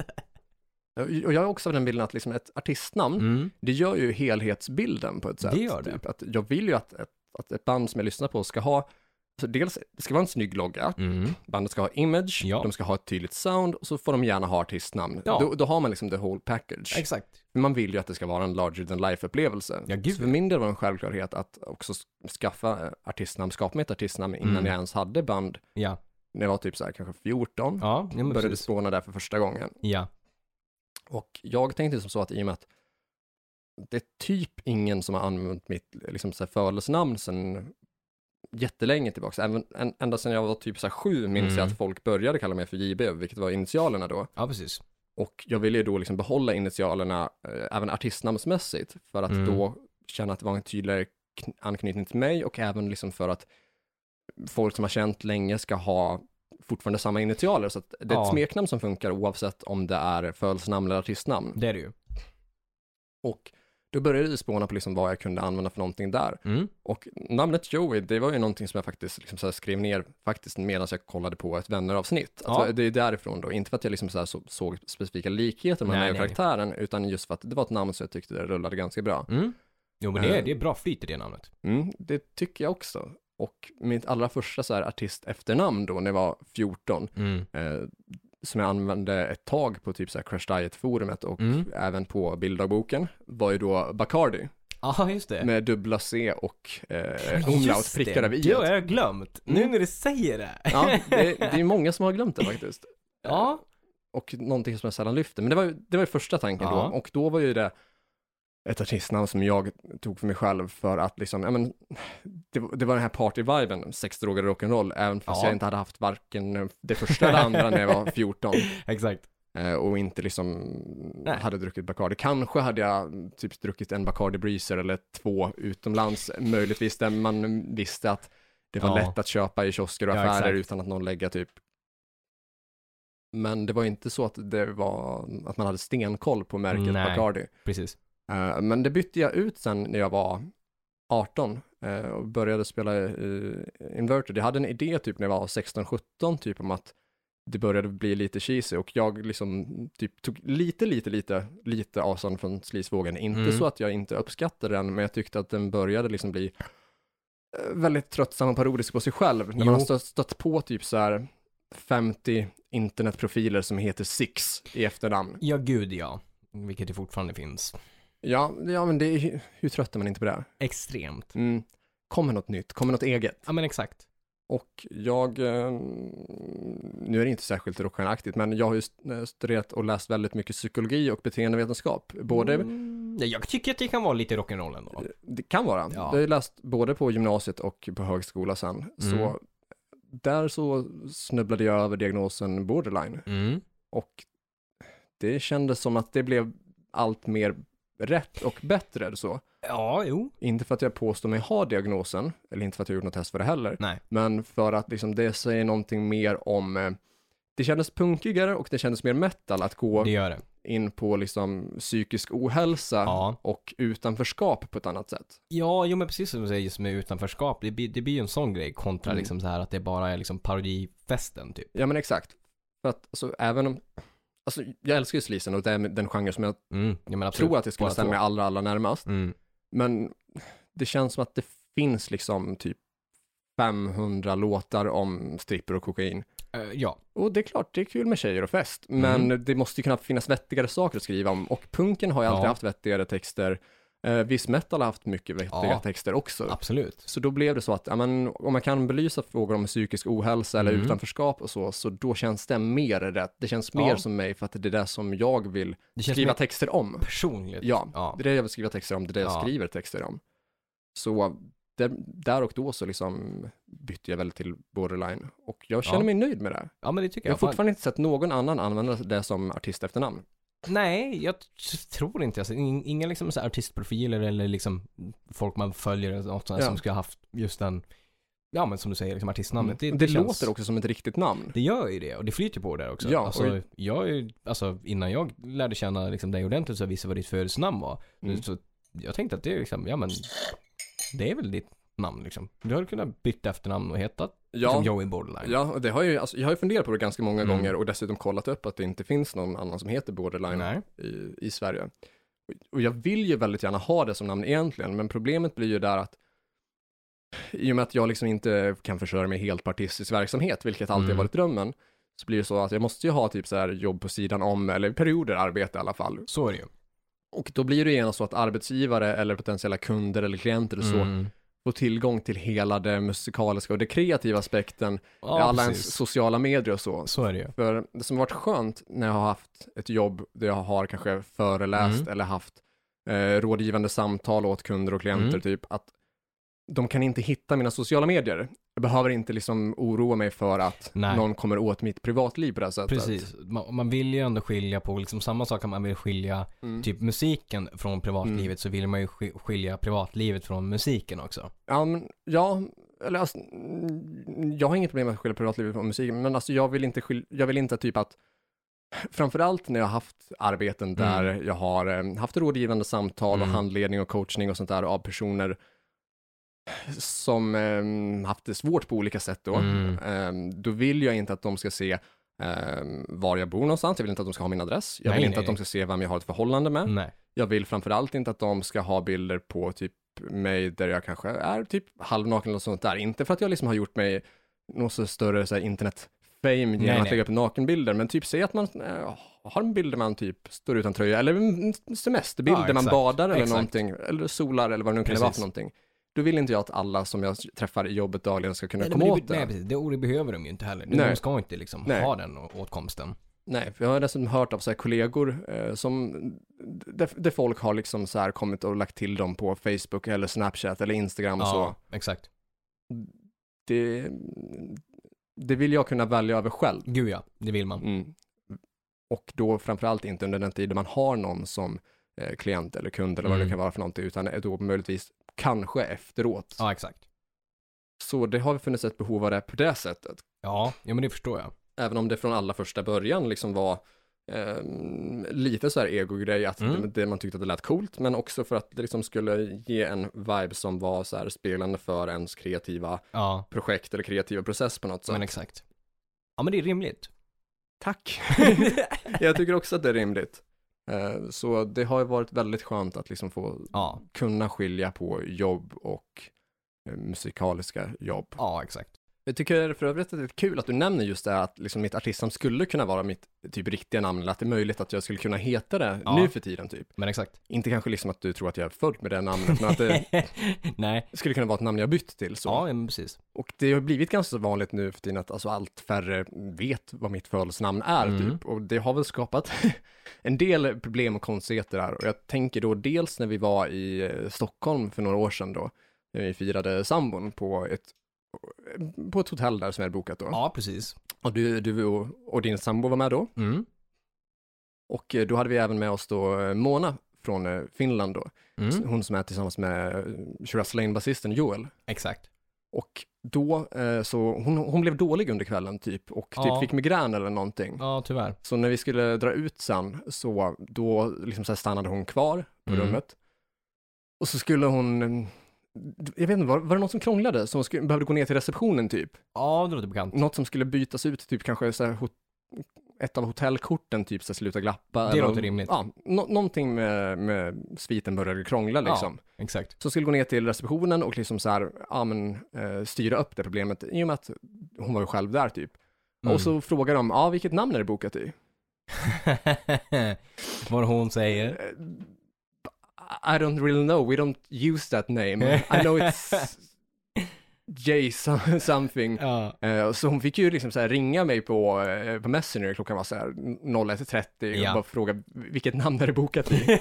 B: Och jag är också av den bilden att liksom ett artistnamn,
A: Mm.
B: det gör ju helhetsbilden på ett sätt.
A: Det gör det.
B: Typ. Att jag vill ju att ett, att ett band som jag lyssnar på ska ha, alltså dels, det ska vara en snygg logga,
A: Mm.
B: bandet ska ha image,
A: Ja.
B: de ska ha ett tydligt sound och så får de gärna ha artistnamn.
A: Ja.
B: Då, då har man liksom the whole package.
A: Exakt.
B: Men man vill ju att det ska vara en larger than life-upplevelse.
A: Ja, gud,
B: så för min del var det en självklarhet att också s- skaffa eh, artistnamn, skapa mig ett artistnamn innan
A: Mm.
B: jag ens hade band
A: Ja.
B: när jag var typ så här kanske 14.
A: Ja, ja men
B: började
A: precis.
B: spåna där för första gången.
A: Ja.
B: Och jag tänkte som så att i och med att det är typ ingen som har använt mitt liksom, så här, födelsenamn sedan jättelänge tillbaka. Även, en, ända sedan jag var typ så här, sju minns jag
A: Mm.
B: att folk började kalla mig för JB, vilket var initialerna då.
A: ja, precis.
B: Och jag ville ju då liksom behålla initialerna eh, även artistnamnsmässigt för att
A: Mm.
B: då känna att det var en tydligare kn- anknytning till mig och även liksom för att folk som har känt länge ska ha fortfarande samma initialer. Så att det är ett
A: Ja.
B: smeknamn som funkar oavsett om det är födelsenamn eller artistnamn.
A: Det är det ju.
B: Och då började jag spåna på liksom vad jag kunde använda för någonting där.
A: Mm.
B: Och namnet Joey, det var ju någonting som jag faktiskt liksom så här skrev ner faktiskt medan jag kollade på ett vänneravsnitt. Alltså,
A: Ja.
B: Det är därifrån då, inte för att jag liksom så här så, såg specifika likheter mellan
A: Nej,
B: mig och
A: nej.
B: karaktären, utan just för att det var ett namn som jag tyckte det rullade ganska bra.
A: Mm. Jo, men det är,
B: Eh.
A: det är bra flyt i det namnet.
B: Mm, det tycker jag också. Och mitt allra första så här artist efternamn då, när jag var 14,
A: Mm.
B: eh, som jag använde ett tag på typ så här Crash Diet-forumet och
A: Mm.
B: även på bilddagboken, var ju då Bacardi.
A: Ja, just det.
B: med dubbla C och eh,
A: Eh. Just
B: umlaut prickar
A: det.
B: över i. alltså.
A: Det har jag glömt. Nu
B: Mm.
A: när du säger det.
B: Ja, det, det är många som har glömt det faktiskt.
A: Ja.
B: Och någonting som jag sällan lyfter, men det var, ju- det var ju första tanken
A: Ja.
B: då. Och då var ju det ett artistnamn som jag tog för mig själv för att liksom, ja men, det, var- det var den här party-viben, sex, droger, och rock'n'roll, även fast
A: Ja.
B: jag inte hade haft varken det första eller andra när jag var 14
A: Exakt.
B: eh, och inte liksom
A: Nej.
B: hade druckit Bacardi. Kanske hade jag typ druckit en Bacardi Breezer eller två utomlands, möjligtvis där man visste att det var
A: Ja.
B: lätt att köpa i kiosker och
A: Ja,
B: affärer
A: exakt.
B: utan att någon lägger typ. Men det var inte så att det var att man hade stenkoll på märket
A: Nej.
B: Bacardi.
A: Precis.
B: Eh, Men det bytte jag ut sen när jag var 18 eh, och började spela eh, Inverted. Jag hade en idé typ när jag var 16-17 typ om att det började bli lite cheesy och jag liksom typ tog lite, lite, lite, lite avstånd från sleazevågen. Inte
A: Mm.
B: så att jag inte uppskattade den, men jag tyckte att den började liksom bli eh, väldigt tröttsam och parodisk på sig själv. När
A: Jo.
B: man har stött, stött på typ så här 50 internetprofiler som heter Six i efternamn.
A: Ja, gud ja. Vilket det fortfarande finns.
B: Ja, ja men det är, ju- hur trött är man inte på det?
A: Extremt.
B: Mm. Kommer något nytt, kommer något eget.
A: Ja, men exakt.
B: Och jag, eh, nu är det inte särskilt rockstjärnaktigt, men jag har ju st- eh, studerat och läst väldigt mycket psykologi och beteendevetenskap. Både,
A: Mm. Ja, Jag tycker att det kan vara lite rock'n'roll ändå.
B: det kan vara,
A: Ja.
B: jag har ju läst både på gymnasiet och på högskola sen.
A: Mm.
B: Så där så snubblade jag över diagnosen borderline
A: Mm.
B: och det kändes som att det blev allt mer rätt och bättre så.
A: Ja, jo.
B: Inte för att jag påstår mig ha diagnosen, eller inte för att jag gjort något test för det heller,
A: Nej.
B: men för att liksom det säger någonting mer om, eh, det kändes punkigare och det kändes mer metal att gå
A: Det gör det.
B: in på liksom psykisk ohälsa
A: Ja.
B: och utanförskap på ett annannat sätt.
A: Ja, jo men precis som du säger, just med utanförskap. Det blir, det blir ju en sån grej kontra
B: Mm.
A: liksom så här att det bara är liksom parodifesten typ.
B: Ja men exakt, för att alltså, även om, alltså jag älskar ju sleazen och det är den genre som jag
A: Mm. Ja, men absolut.
B: tror att jag skulle
A: Båda
B: ställa
A: två.
B: mig allra, allra närmast,
A: Mm.
B: men det känns som att det finns liksom typ 500 låtar om stripper och kokain.
A: Eh, ja.
B: Och det är klart, det är kul med tjejer och fest,
A: Mhm.
B: men det måste ju kunna finnas vettigare saker att skriva om. Och punken har ju alltid
A: Ja.
B: haft vettigare texter. Eh, viss metal har haft mycket vettiga
A: Ja.
B: texter också.
A: Absolut.
B: Så då blev det så att, ja, men, om man kan belysa frågor om psykisk ohälsa eller
A: Mm.
B: utanförskap och så, så då känns det mer rätt. Det känns
A: Ja.
B: mer som mig för att det är det som jag vill
A: Det känns
B: skriva
A: mer
B: texter om.
A: personligt.
B: Ja,
A: ja.
B: det är det jag vill skriva texter om, det är det jag
A: Ja.
B: skriver texter om. Så där, där och då så liksom bytte jag väl till borderline och jag känner
A: Ja.
B: mig nöjd med det. här.
A: Ja men det tycker
B: Jag
A: jag.
B: har fortfarande inte sett någon annan använda det som artist efternamn.
A: Fan, nej, jag t- tror inte jag ser- in- Inga liksom så här artistprofiler eller liksom folk man följer eller något sånt där
B: Ja.
A: som ska ha haft just den, ja men som du säger, liksom artistnamnet.
B: Mm. Det,
A: Det, det, känns-
B: låter också som ett riktigt namn.
A: Det gör ju det och det flyter på där också.
B: Ja,
A: Ja,
B: och-
A: alltså, jag är, ju- alltså, innan jag lärde känna liksom, dig ordentligt så visste jag vad ditt födelsenamn var.
B: Mm.
A: Så jag tänkte att det är liksom, ja men det är väl ditt namn liksom. Du hade kunnat byta efternamn och hetat
B: Ja,
A: liksom Joey Borderline.
B: ja och det har jag, ju, alltså, jag har ju funderat på det ganska många
A: Mm.
B: gånger och dessutom kollat upp att det inte finns någon annan som heter borderline
A: Nej.
B: i, i Sverige. Och- Och jag vill ju väldigt gärna ha det som namn egentligen, men problemet blir ju där att i och med att jag liksom inte kan försörja mig helt på artistisk verksamhet, vilket alltid
A: Mm.
B: har varit drömmen, så blir det så att jag måste ju ha typ så här jobb på sidan om, eller perioder arbete i alla fall.
A: Så är det ju.
B: Och då blir det gärna så att arbetsgivare eller potentiella kunder eller klienter och så
A: Mm.
B: får tillgång till hela det musikaliska och det kreativa aspekten,
A: Ja,
B: alla ens
A: precis.
B: sociala medier och så.
A: Så är det ju.
B: För det som har varit skönt när jag har haft ett jobb där jag har kanske föreläst
A: Mm.
B: eller haft eh, rådgivande samtal åt kunder och klienter,
A: Mm.
B: typ att de kan inte hitta mina sociala medier. Jag behöver inte liksom oroa mig för att
A: Nej.
B: någon kommer åt mitt privatliv på det här sättet.
A: Precis. Man, man vill ju ändå skilja på, liksom samma sak kan man vill skilja
B: Mm.
A: typ musiken från privatlivet
B: Mm.
A: så vill man ju sk- skilja privatlivet från musiken också.
B: Ja, men, ja eller alltså, mm, jag har inget problem med att skilja privatlivet från musiken, men alltså jag vill inte, skil- jag vill inte typ att, framförallt när jag har haft arbeten där jag har eh, haft rådgivande samtal och
A: Mm.
B: handledning och coachning och sånt där av personer som eh, haft det svårt på olika sätt då,
A: Mm.
B: eh, då vill jag inte att de ska se eh, var jag bor någonstans, jag vill inte att de ska ha min adress, jag
A: Nej,
B: vill inte
A: nej,
B: att de
A: nej.
B: ska se vem jag har ett förhållande med,
A: Nej.
B: jag vill framförallt inte att de ska ha bilder på typ mig där jag kanske är typ halvnaken eller sånt där. Inte för att jag liksom har gjort mig någon så större så här, internet-fame genom
A: Nej,
B: att
A: nej.
B: lägga upp nakenbilder, men typ säg att man eh, har en bild där man typ står utan tröja eller en semesterbild
A: Ja,
B: där man
A: exakt.
B: badar eller
A: Exakt.
B: någonting, eller solar eller vad det nu kan
A: Precis.
B: vara för någonting. Då vill inte jag att alla som jag träffar i jobbet dagligen ska kunna
A: Nej,
B: komma
A: men
B: åt
A: det,
B: det.
A: nej, precis. Det ordet behöver de ju inte heller.
B: Nej.
A: De ska inte liksom
B: Nej.
A: ha den å- åtkomsten.
B: Nej, för jag har dessutom hört av så här kollegor eh, som, där, där folk har liksom så här kommit och lagt till dem på Facebook eller Snapchat eller Instagram och så.
A: exakt.
B: Det, det vill jag kunna välja över själv.
A: Gud ja, det vill man.
B: Mm. Och då framförallt inte under den tiden man har någon som eh, klient eller kund eller vad det
A: Mm.
B: kan vara för någonting, utan då möjligtvis kanske efteråt.
A: Ja, exakt.
B: Så det har funnits ett behov av det på det sättet.
A: Ja, ja men det förstår jag.
B: även om det från allra första början liksom var eh, lite så här ego-grej, att
A: Mm.
B: det, det man tyckte att det lät coolt, men också för att det liksom skulle ge en vibe som var så här spelande för ens kreativa
A: Ja,
B: projekt eller kreativa process på något sätt.
A: men exakt. Ja, men det är rimligt.
B: tack! jag tycker också att det är rimligt. Eh, så det har ju varit väldigt skönt att liksom få
A: ja,
B: kunna skilja på jobb och eh, musikaliska jobb.
A: ja exakt.
B: Jag tycker för övrigt att det är kul att du nämner just det här att liksom mitt artistnamn skulle kunna vara mitt typ riktiga namn, eller att det är möjligt att jag skulle kunna heta det
A: Ja.
B: nu för tiden typ.
A: Men exakt.
B: Inte kanske liksom att du tror att jag är född med det namnet, men att det
A: Nej.
B: skulle kunna vara ett namn jag bytt till. Så.
A: Ja, ja, men precis.
B: Och det har blivit ganska så vanligt nu för tiden att alltså allt färre vet vad mitt födelsenamn är
A: Mm.
B: typ. Och det har väl skapat en del problem och konstigheter där. Och jag tänker då dels när vi var i eh, Stockholm för några år sedan då, när vi firade sambon på ett, på ett hotell där som jag hade bokat då.
A: Ja, precis.
B: Och du, du och, och din sambo var med då.
A: Mm.
B: Och eh, då hade vi även med oss då eh, Mona från eh, Finland då. S-
A: Mm.
B: Hon som är tillsammans med eh, Shiraz Lane-basisten Joel.
A: Exakt.
B: Och då, eh, så hon, hon blev dålig under kvällen typ och typ
A: Ja.
B: fick migrän eller någonting.
A: Ja, tyvärr.
B: Så när vi skulle dra ut sen, så då liksom så här stannade hon kvar på
A: Mm.
B: rummet. Och så skulle hon, eh, jag vet inte, var, var det någon som krånglade? Så hon skulle, behövde gå ner till receptionen typ?
A: Ja, det låter bekant.
B: något som skulle bytas ut, typ kanske så här, hot- ett av hotellkorten, typ så här, sluta glappa.
A: Det
B: eller-
A: låter rimligt.
B: Ja, nå- någonting med, med sviten började krångla
A: Ja.
B: liksom.
A: Exakt.
B: Så skulle gå ner till receptionen och liksom så här, ja men eh, styra upp det problemet i och med att hon var ju själv där typ.
A: Mm.
B: Och så frågar de, ja vilket namn är det bokat i?
A: Vad hon säger.
B: Eh, I don't really know, we don't use that name. I know it's J some- something.
A: Ja.
B: Eh, Så hon fick ju liksom så här ringa mig på, eh, på Messenger, klockan var så här 01.30 och
A: Ja.
B: bara fråga vilket namn är det bokat i?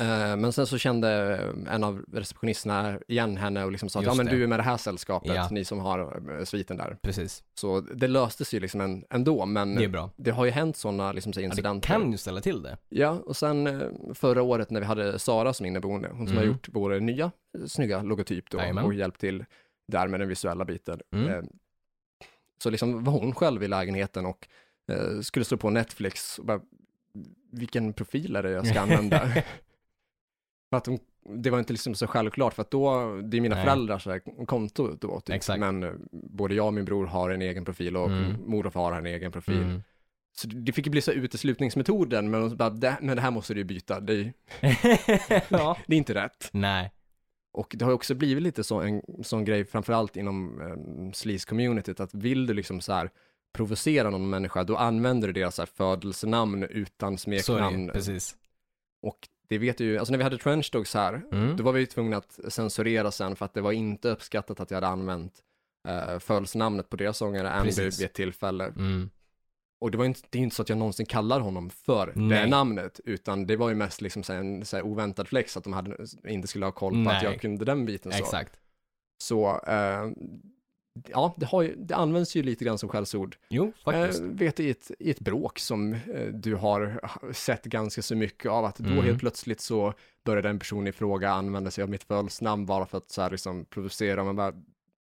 B: Eh, Men sen så kände eh, en av receptionisterna igen henne och liksom sa att
A: Just
B: ja, men
A: det.
B: du är med det här sällskapet,
A: Ja.
B: ni som har eh, sviten där.
A: Precis,
B: Så det löstes ju liksom en, ändå, men
A: det är
B: det,
A: bra.
B: har ju hänt sådana liksom, så
A: Ja, det
B: incidenter.
A: kan ju ställa till det.
B: Ja, och sen eh, förra året när vi hade Sara som inneboende, hon som har
A: Mm.
B: gjort vår nya eh, snygga logotyp då
A: Jajamän.
B: och hjälpt till där med den visuella biten.
A: Mm.
B: Eh, Så liksom var hon själv i lägenheten och eh, skulle slå på Netflix och bara, vilken profil är det jag ska använda?
A: Mm.
B: för att hon, det var inte liksom så självklart för att då, det är mina
A: Nej.
B: föräldrars så här konto då, typ.
A: Exakt.
B: men eh, både jag och min bror har en egen profil och
A: Mm.
B: mor och far har en egen profil.
A: Mm.
B: Så det fick ju bli så här uteslutningsmetoden, men de bara, det, men det här måste du ju byta, det, är-
A: ja.
B: det är inte rätt.
A: Nej,
B: Och det har ju också blivit lite så, en sån grej, framförallt inom um, sleaze-communityt, att vill du liksom så här provocera någon människa, då använder du deras så här födelsenamn utan
A: så är det ju,
B: smeknamn.
A: precis.
B: Och det vet du ju, alltså när vi hade trench dogs här,
A: Mm.
B: då var vi ju tvungna att censurera sen för att det var inte uppskattat att jag hade använt uh, födelsenamnet på deras sångare, Andy,
A: Precis.
B: vid ett tillfälle.
A: Mm.
B: Och det var ju inte, det är ju inte så att jag någonsin kallar honom för det
A: Nej.
B: namnet, utan det var ju mest liksom så här en så här oväntad flex att de hade, inte skulle ha koll på att
A: Nej.
B: jag kunde den biten. Så,
A: Exakt.
B: så eh, ja, det, har ju, det används ju lite grann som skällsord.
A: Jo,
B: Eh,
A: faktiskt.
B: vet i ett, i ett bråk som eh, du har sett ganska så mycket av, att då
A: Mm.
B: helt plötsligt så börjar den personen i fråga använda sig av mitt födelsenamn bara för att så här liksom provocera. Man bara,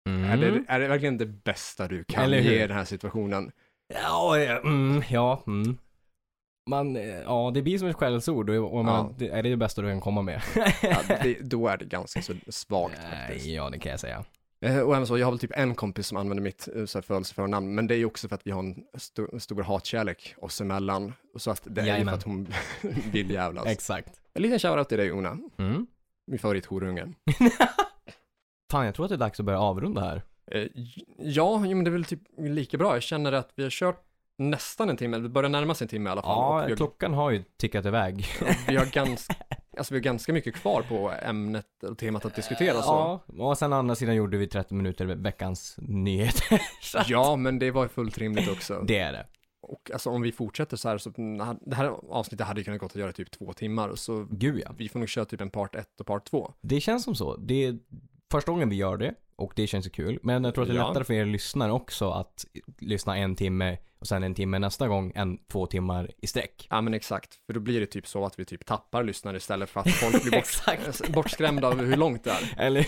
A: Mm.
B: Eh, är, det, är det verkligen det bästa du kan
A: Eller hur?
B: ge i den här situationen?
A: Ja, ja, mm, ja. Mm. Man, eh, ja, det blir som ett skällsord och, och man,
B: Ja.
A: det, är det det bästa du kan komma med?
B: Ja, det, då är det ganska så svagt faktiskt.
A: Nej, ja, det kan jag säga.
B: Eh, Och även så, jag har väl typ en kompis som använder mitt eh, så här födelseförnamn, men det är ju också för att vi har en sto- stor hatkärlek oss emellan. Och Så att det är ju för
A: Jajamän.
B: att hon vill jävlas.
A: Exakt.
B: en liten shoutout till dig Ona,
A: Mm.
B: min favorithorunge.
A: Fan, jag tror att det är dags att börja avrunda här.
B: Eh, j- Ja, jo, men det är väl typ lika bra. Jag känner att vi har kört nästan en timme, eller det börjar närma sig en timme i alla fall.
A: Ja,
B: och vi, har,
A: klockan har ju tickat iväg.
B: vi, har ganska, alltså, vi har ganska mycket kvar på ämnet och temat att diskutera. Så.
A: Ja, och sen å andra sidan gjorde vi 30 minuter med veckans nyheter. Så att-
B: ja, men det var ju fullt rimligt också.
A: Det är det.
B: Och alltså om vi fortsätter så här, så det här avsnittet hade ju kunnat gått att göra typ två timmar, och så
A: Gud ja.
B: vi får nog köra typ en part 1 och part 2.
A: Det känns som så. Det är första gången vi gör det och det känns ju kul. Men jag tror att det är
B: Ja.
A: lättare för er lyssnare också att lyssna en timme och sen en timme nästa gång än två timmar i sträck.
B: Ja men exakt, för då blir det typ så att vi typ tappar lyssnare istället för att folk blir bort,
A: Exakt.
B: bortskrämda av hur långt det är.
A: Eller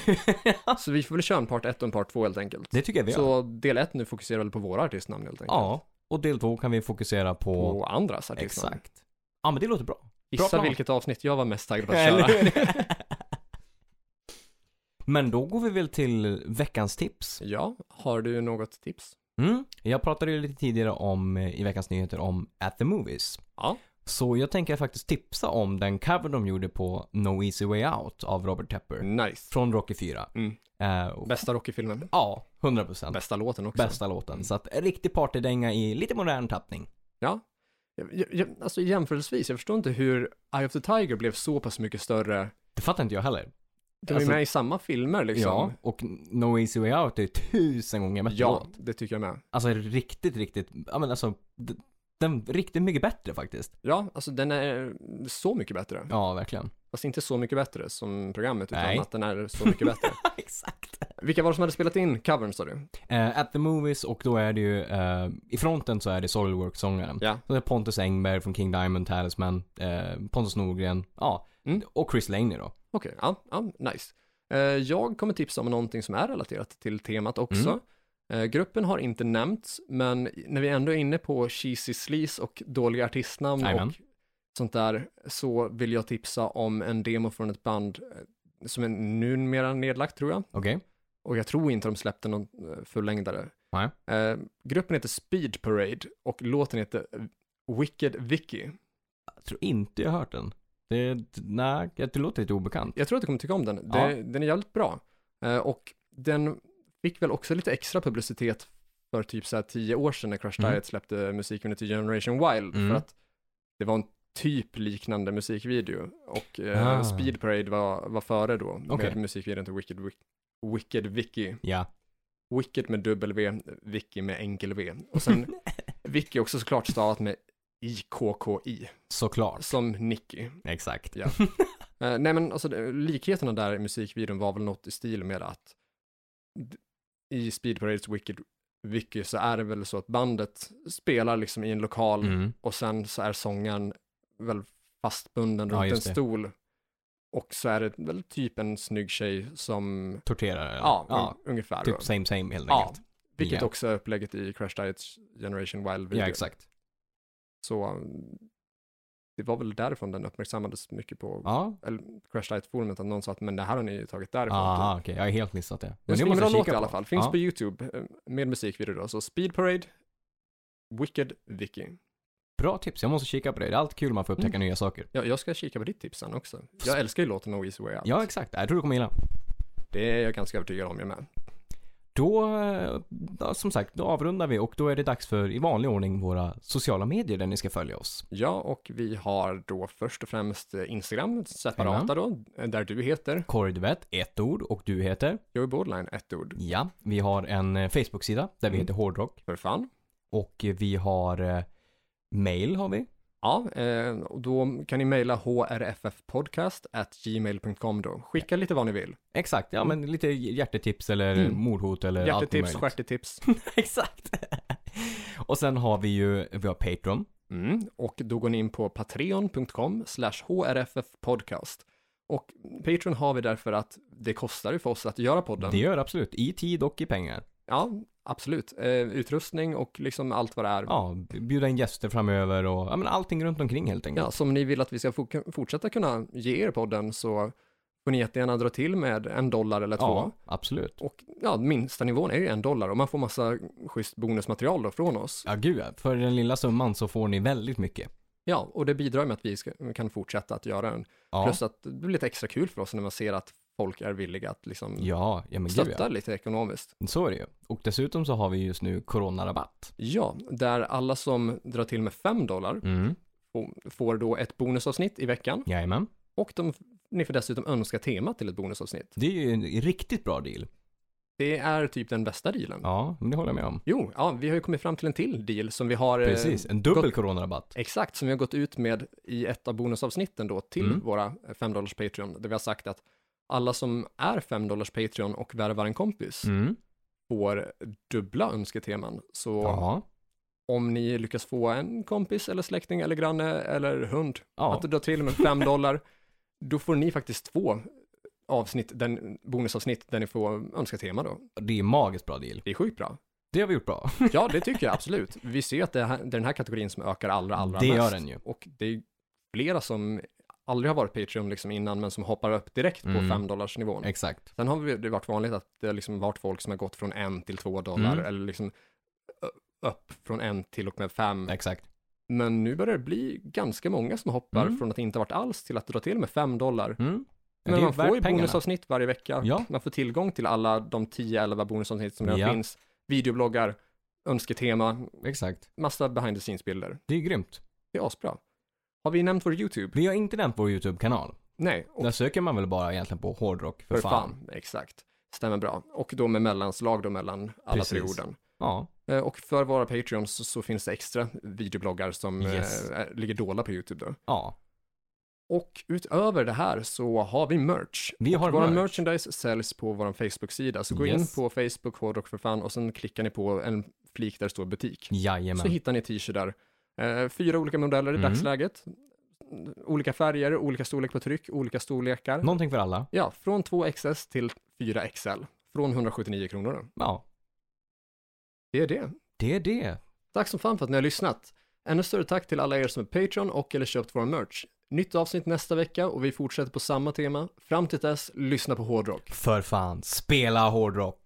B: Så vi får väl köra en part 1 och en part 2 helt enkelt.
A: Det tycker jag vi gör.
B: Så del 1 nu fokuserar väl på våra artistnamn helt enkelt.
A: Ja, och del två kan vi fokusera på...
B: På andras artistnamn.
A: Exakt. Ja men det låter bra. Bra
B: Gissa
A: plan.
B: vilket avsnitt jag var mest taggad på att
A: Eller
B: köra.
A: hur? Men då går vi väl till veckans tips.
B: Ja, har du något tips?
A: Mm. Jag pratade ju lite tidigare om, eh, i veckans nyheter om At the Movies.
B: Ja.
A: Så jag tänker faktiskt tipsa om den cover de gjorde på No Easy Way Out av Robert Tepper.
B: Nice.
A: Från Rocky 4.
B: Mm.
A: Eh, och-
B: Bästa Rocky-filmen.
A: ja, 100%.
B: Bästa låten också.
A: Bästa låten. Så att en riktig partydänga i lite modern tappning.
B: Ja. Jag, jag, alltså jämförelsevis, jag förstår inte hur Eye of the Tiger blev så pass mycket större.
A: Det fattar inte jag heller.
B: De är
A: Alltså-
B: med i samma filmer liksom.
A: Ja, och No Easy Way Out är tusen gånger bättre
B: Ja,
A: låt.
B: det tycker jag med.
A: Alltså riktigt, riktigt, ja men alltså, d- den riktigt mycket bättre faktiskt.
B: Ja, alltså den är så mycket bättre.
A: Ja, verkligen.
B: Fast inte så mycket bättre som programmet, utan
A: Nej.
B: att den är så mycket bättre.
A: Exakt.
B: Vilka var det som hade spelat in covern sa du?
A: Eh, at the Movies och då är det ju, eh, i fronten så är det Soilwork-sångaren.
B: Ja.
A: Så det är Pontus Engberg från King Diamond Talisman, eh, Pontus Norgren, ja.
B: Mm.
A: Och Chris Laney då.
B: Okej, ja, ja, nice. Eh, Jag kommer tipsa om någonting som är relaterat till temat också.
A: Mm.
B: Eh, Gruppen har inte nämnts, men när vi ändå är inne på cheesy sleaze och dåliga artistnamn
A: Jajamän.
B: och sånt där, så vill jag tipsa om en demo från ett band eh, som är numera nedlagt tror jag.
A: Okej.
B: Och jag tror inte de släppte någon eh, fullängdare.
A: Nej.
B: Eh, gruppen heter Speed Parade och låten heter eh, Wicked Vicky.
A: Jag tror inte jag har hört den. Det, nej, det låter lite obekant.
B: Jag tror att du kommer tycka om den.
A: Ja.
B: Det, den är jävligt bra. Eh, och den fick väl också lite extra publicitet för typ så här tio år sedan när Crash
A: Mm.
B: Diet släppte musiken till Generation Wild.
A: Mm.
B: För att det var en typ liknande musikvideo. Och eh,
A: Ah.
B: Speed Parade var, var före då med
A: Okej.
B: musikvideon till Wicked, Wick- Wicked Vicky.
A: Ja.
B: Wicked med dubbel V, Vicky med enkel V. Och sen Vicky också såklart stavat med IKKI,
A: Såklart.
B: som Nicky.
A: Exakt.
B: Ja. Eh, nej men alltså det- likheterna där i musikvideon var väl något i stil med att d- i Speed Parades Wicked Vicky så är det väl så att bandet spelar liksom i en lokal
A: Mm.
B: och sen så är sångaren väl fastbunden
A: Ja,
B: runt en
A: just det.
B: stol. Och så är det väl typ en snygg tjej som,
A: Torterare. eller?
B: ja, un- ungefär.
A: Typ same same helt
B: Ja,
A: enkelt.
B: vilket
A: ja.
B: också är upplägget i Crash Diet Generation Wild-videon.
A: Ja, exakt.
B: Så um, det var väl därifrån den uppmärksammades mycket på
A: Ja,
B: eller Crash Diet-forumet, att någon sa att men det här har ni ju tagit därifrån. typ."
A: aha, okej. Jag har helt missat det.
B: Men det är en bra
A: jag
B: låt i
A: på.
B: alla fall. Finns
A: ja.
B: på YouTube eh, med musikvideo då. Så Speed Parade, Wicked Vicky.
A: Bra tips, jag måste kika på det. Det är alltid kul när man får
B: Mm.
A: upptäcka nya saker.
B: Ja, jag ska kika på ditt tips sen också. Jag älskar ju låten No Easy Way Out.
A: Ja, exakt. Jag tror du kommer gilla.
B: Det är jag ganska övertygad om jag med.
A: Då, eh, ja, som sagt, då avrundar vi och då är det dags för i vanlig ordning våra sociala medier där ni ska följa oss.
B: Ja, och vi har då först och främst eh, Instagram, separata då, eh, där du heter
A: Corey Duvett, ett ord och du heter?
B: Joey Borderline, ett ord.
A: Ja, vi har en eh, Facebook-sida där vi
B: Mm.
A: heter Hårdrock
B: För fan.
A: och eh, vi har eh, mail har vi.
B: Ja, eh, och då kan ni mejla hrffpodcast@gmail.com då. Skicka lite vad ni vill.
A: Exakt, ja men lite hjärtetips eller
B: Mm.
A: mordhot eller allt
B: Hjärtetips,
A: möjligt.
B: stjärtetips.
A: Exakt. och sen har vi ju, vi har Patreon.
B: Mm, och då går ni in på patreon.com slash hrffpodcast. Och Patreon har vi därför att det kostar ju för oss att göra podden.
A: Det gör det absolut, i tid och i pengar.
B: Ja, absolut. Eh, utrustning och liksom allt vad det är.
A: Ja, bjuda in gäster framöver och ja, men allting runt omkring helt enkelt.
B: Ja, som ni vill att vi ska fo- fortsätta kunna ge er podden så får ni jättegärna dra till med en dollar eller två.
A: absolut.
B: Och ja, minsta nivån är ju en dollar och man får massa schysst bonusmaterial då från oss.
A: Ja, gud ja. För den lilla summan så får ni väldigt mycket.
B: Ja, och det bidrar med att vi ska, kan fortsätta att göra den.
A: Ja,
B: Plus att det blir lite extra kul för oss när man ser att folk är villiga att liksom
A: ja, ja men gud
B: stötta
A: ja.
B: lite ekonomiskt.
A: Så är det ju. Och dessutom så har vi just nu coronarabatt.
B: Ja, där alla som drar till med 5 dollar
A: Mm,
B: får- får då ett bonusavsnitt i veckan
A: jajamän.
B: och de, ni får dessutom önska tema till ett bonusavsnitt.
A: Det är ju en riktigt bra deal.
B: Det är typ den bästa dealen.
A: Ja, men det håller jag med om.
B: Jo, ja, vi har ju kommit fram till en till deal som vi har eh,
A: Precis, en dubbel coronarabatt.
B: Exakt, som vi har gått ut med i ett av bonusavsnitten då till
A: Mm.
B: våra 5 dollars Patreon, där vi har sagt att alla som är 5 dollars Patreon och värvar en kompis
A: Mm.
B: får dubbla önsketeman. Så
A: Ja.
B: om ni lyckas få en kompis eller släkting eller granne eller hund
A: Ja.
B: att dra till med 5 dollar, då får ni faktiskt två avsnitt, den, bonusavsnitt där ni får önskedema då.
A: Det är magiskt bra deal.
B: Det är sjukt bra.
A: Det har vi gjort bra.
B: Ja, det tycker jag absolut. Vi ser ju att det, här, det är den här kategorin som ökar allra, allra
A: Det
B: mest.
A: gör den ju.
B: Och det är flera som aldrig har varit Patreon liksom innan, men som hoppar upp direkt på
A: Mm.
B: 5 dollars nivån.
A: Exakt.
B: Sen har vi- det varit vanligt att det har liksom varit folk som har gått från 1 till 2 dollar
A: Mm.
B: eller liksom ö- upp från 1 till och med 5.
A: Exakt.
B: Men nu börjar det bli ganska många som hoppar
A: Mm.
B: från att inte ha varit alls till att dra till med 5 dollar.
A: Mm. Ja, det
B: Men
A: är
B: man får
A: värt
B: ju
A: pengarna.
B: bonusavsnitt varje vecka.
A: Ja.
B: Man får tillgång till alla de 10-11 bonusavsnitt som redan
A: Ja.
B: finns. Videobloggar, önsketema,
A: Exakt.
B: massa behind the scenes-bilder.
A: Det är grymt.
B: Det är asbra. Har vi nämnt vår YouTube?
A: Vi har inte nämnt vår YouTube-kanal.
B: Nej, och
A: Där söker man väl bara egentligen på hårdrock för,
B: för fan. Exakt. Stämmer bra. Och då med mellanslag då mellan alla tre
A: Precis.
B: orden.
A: Ja,
B: Eh, Och för våra Patreons så- så finns det extra videobloggar som
A: Yes.
B: eh, är- ligger dolda på YouTube då.
A: ja.
B: Och utöver det här så har vi merch.
A: Vi har
B: Vår
A: merch.
B: merchandise säljs på vår Facebook-sida, så gå
A: Yes.
B: in på Facebook, Hårdrock för fan, och sen klickar ni på en flik där det står butik. Så
A: Jajamän.
B: hittar ni t-shirtar. Eh, Fyra olika modeller i
A: Mm.
B: dagsläget. Olika färger, olika storlek på tryck, olika storlekar.
A: Någonting för alla.
B: Ja, från 2XS till 4XL. Från 179 kronor. då.
A: Ja,
B: Det är det.
A: det är det.
B: Tack som fan för att ni har lyssnat. Ännu större tack till alla er som är Patreon och eller köpt vår merch. Nytt avsnitt nästa vecka och vi fortsätter på samma tema. Fram till dess, lyssna på hårdrock.
A: För fan, spela hårdrock.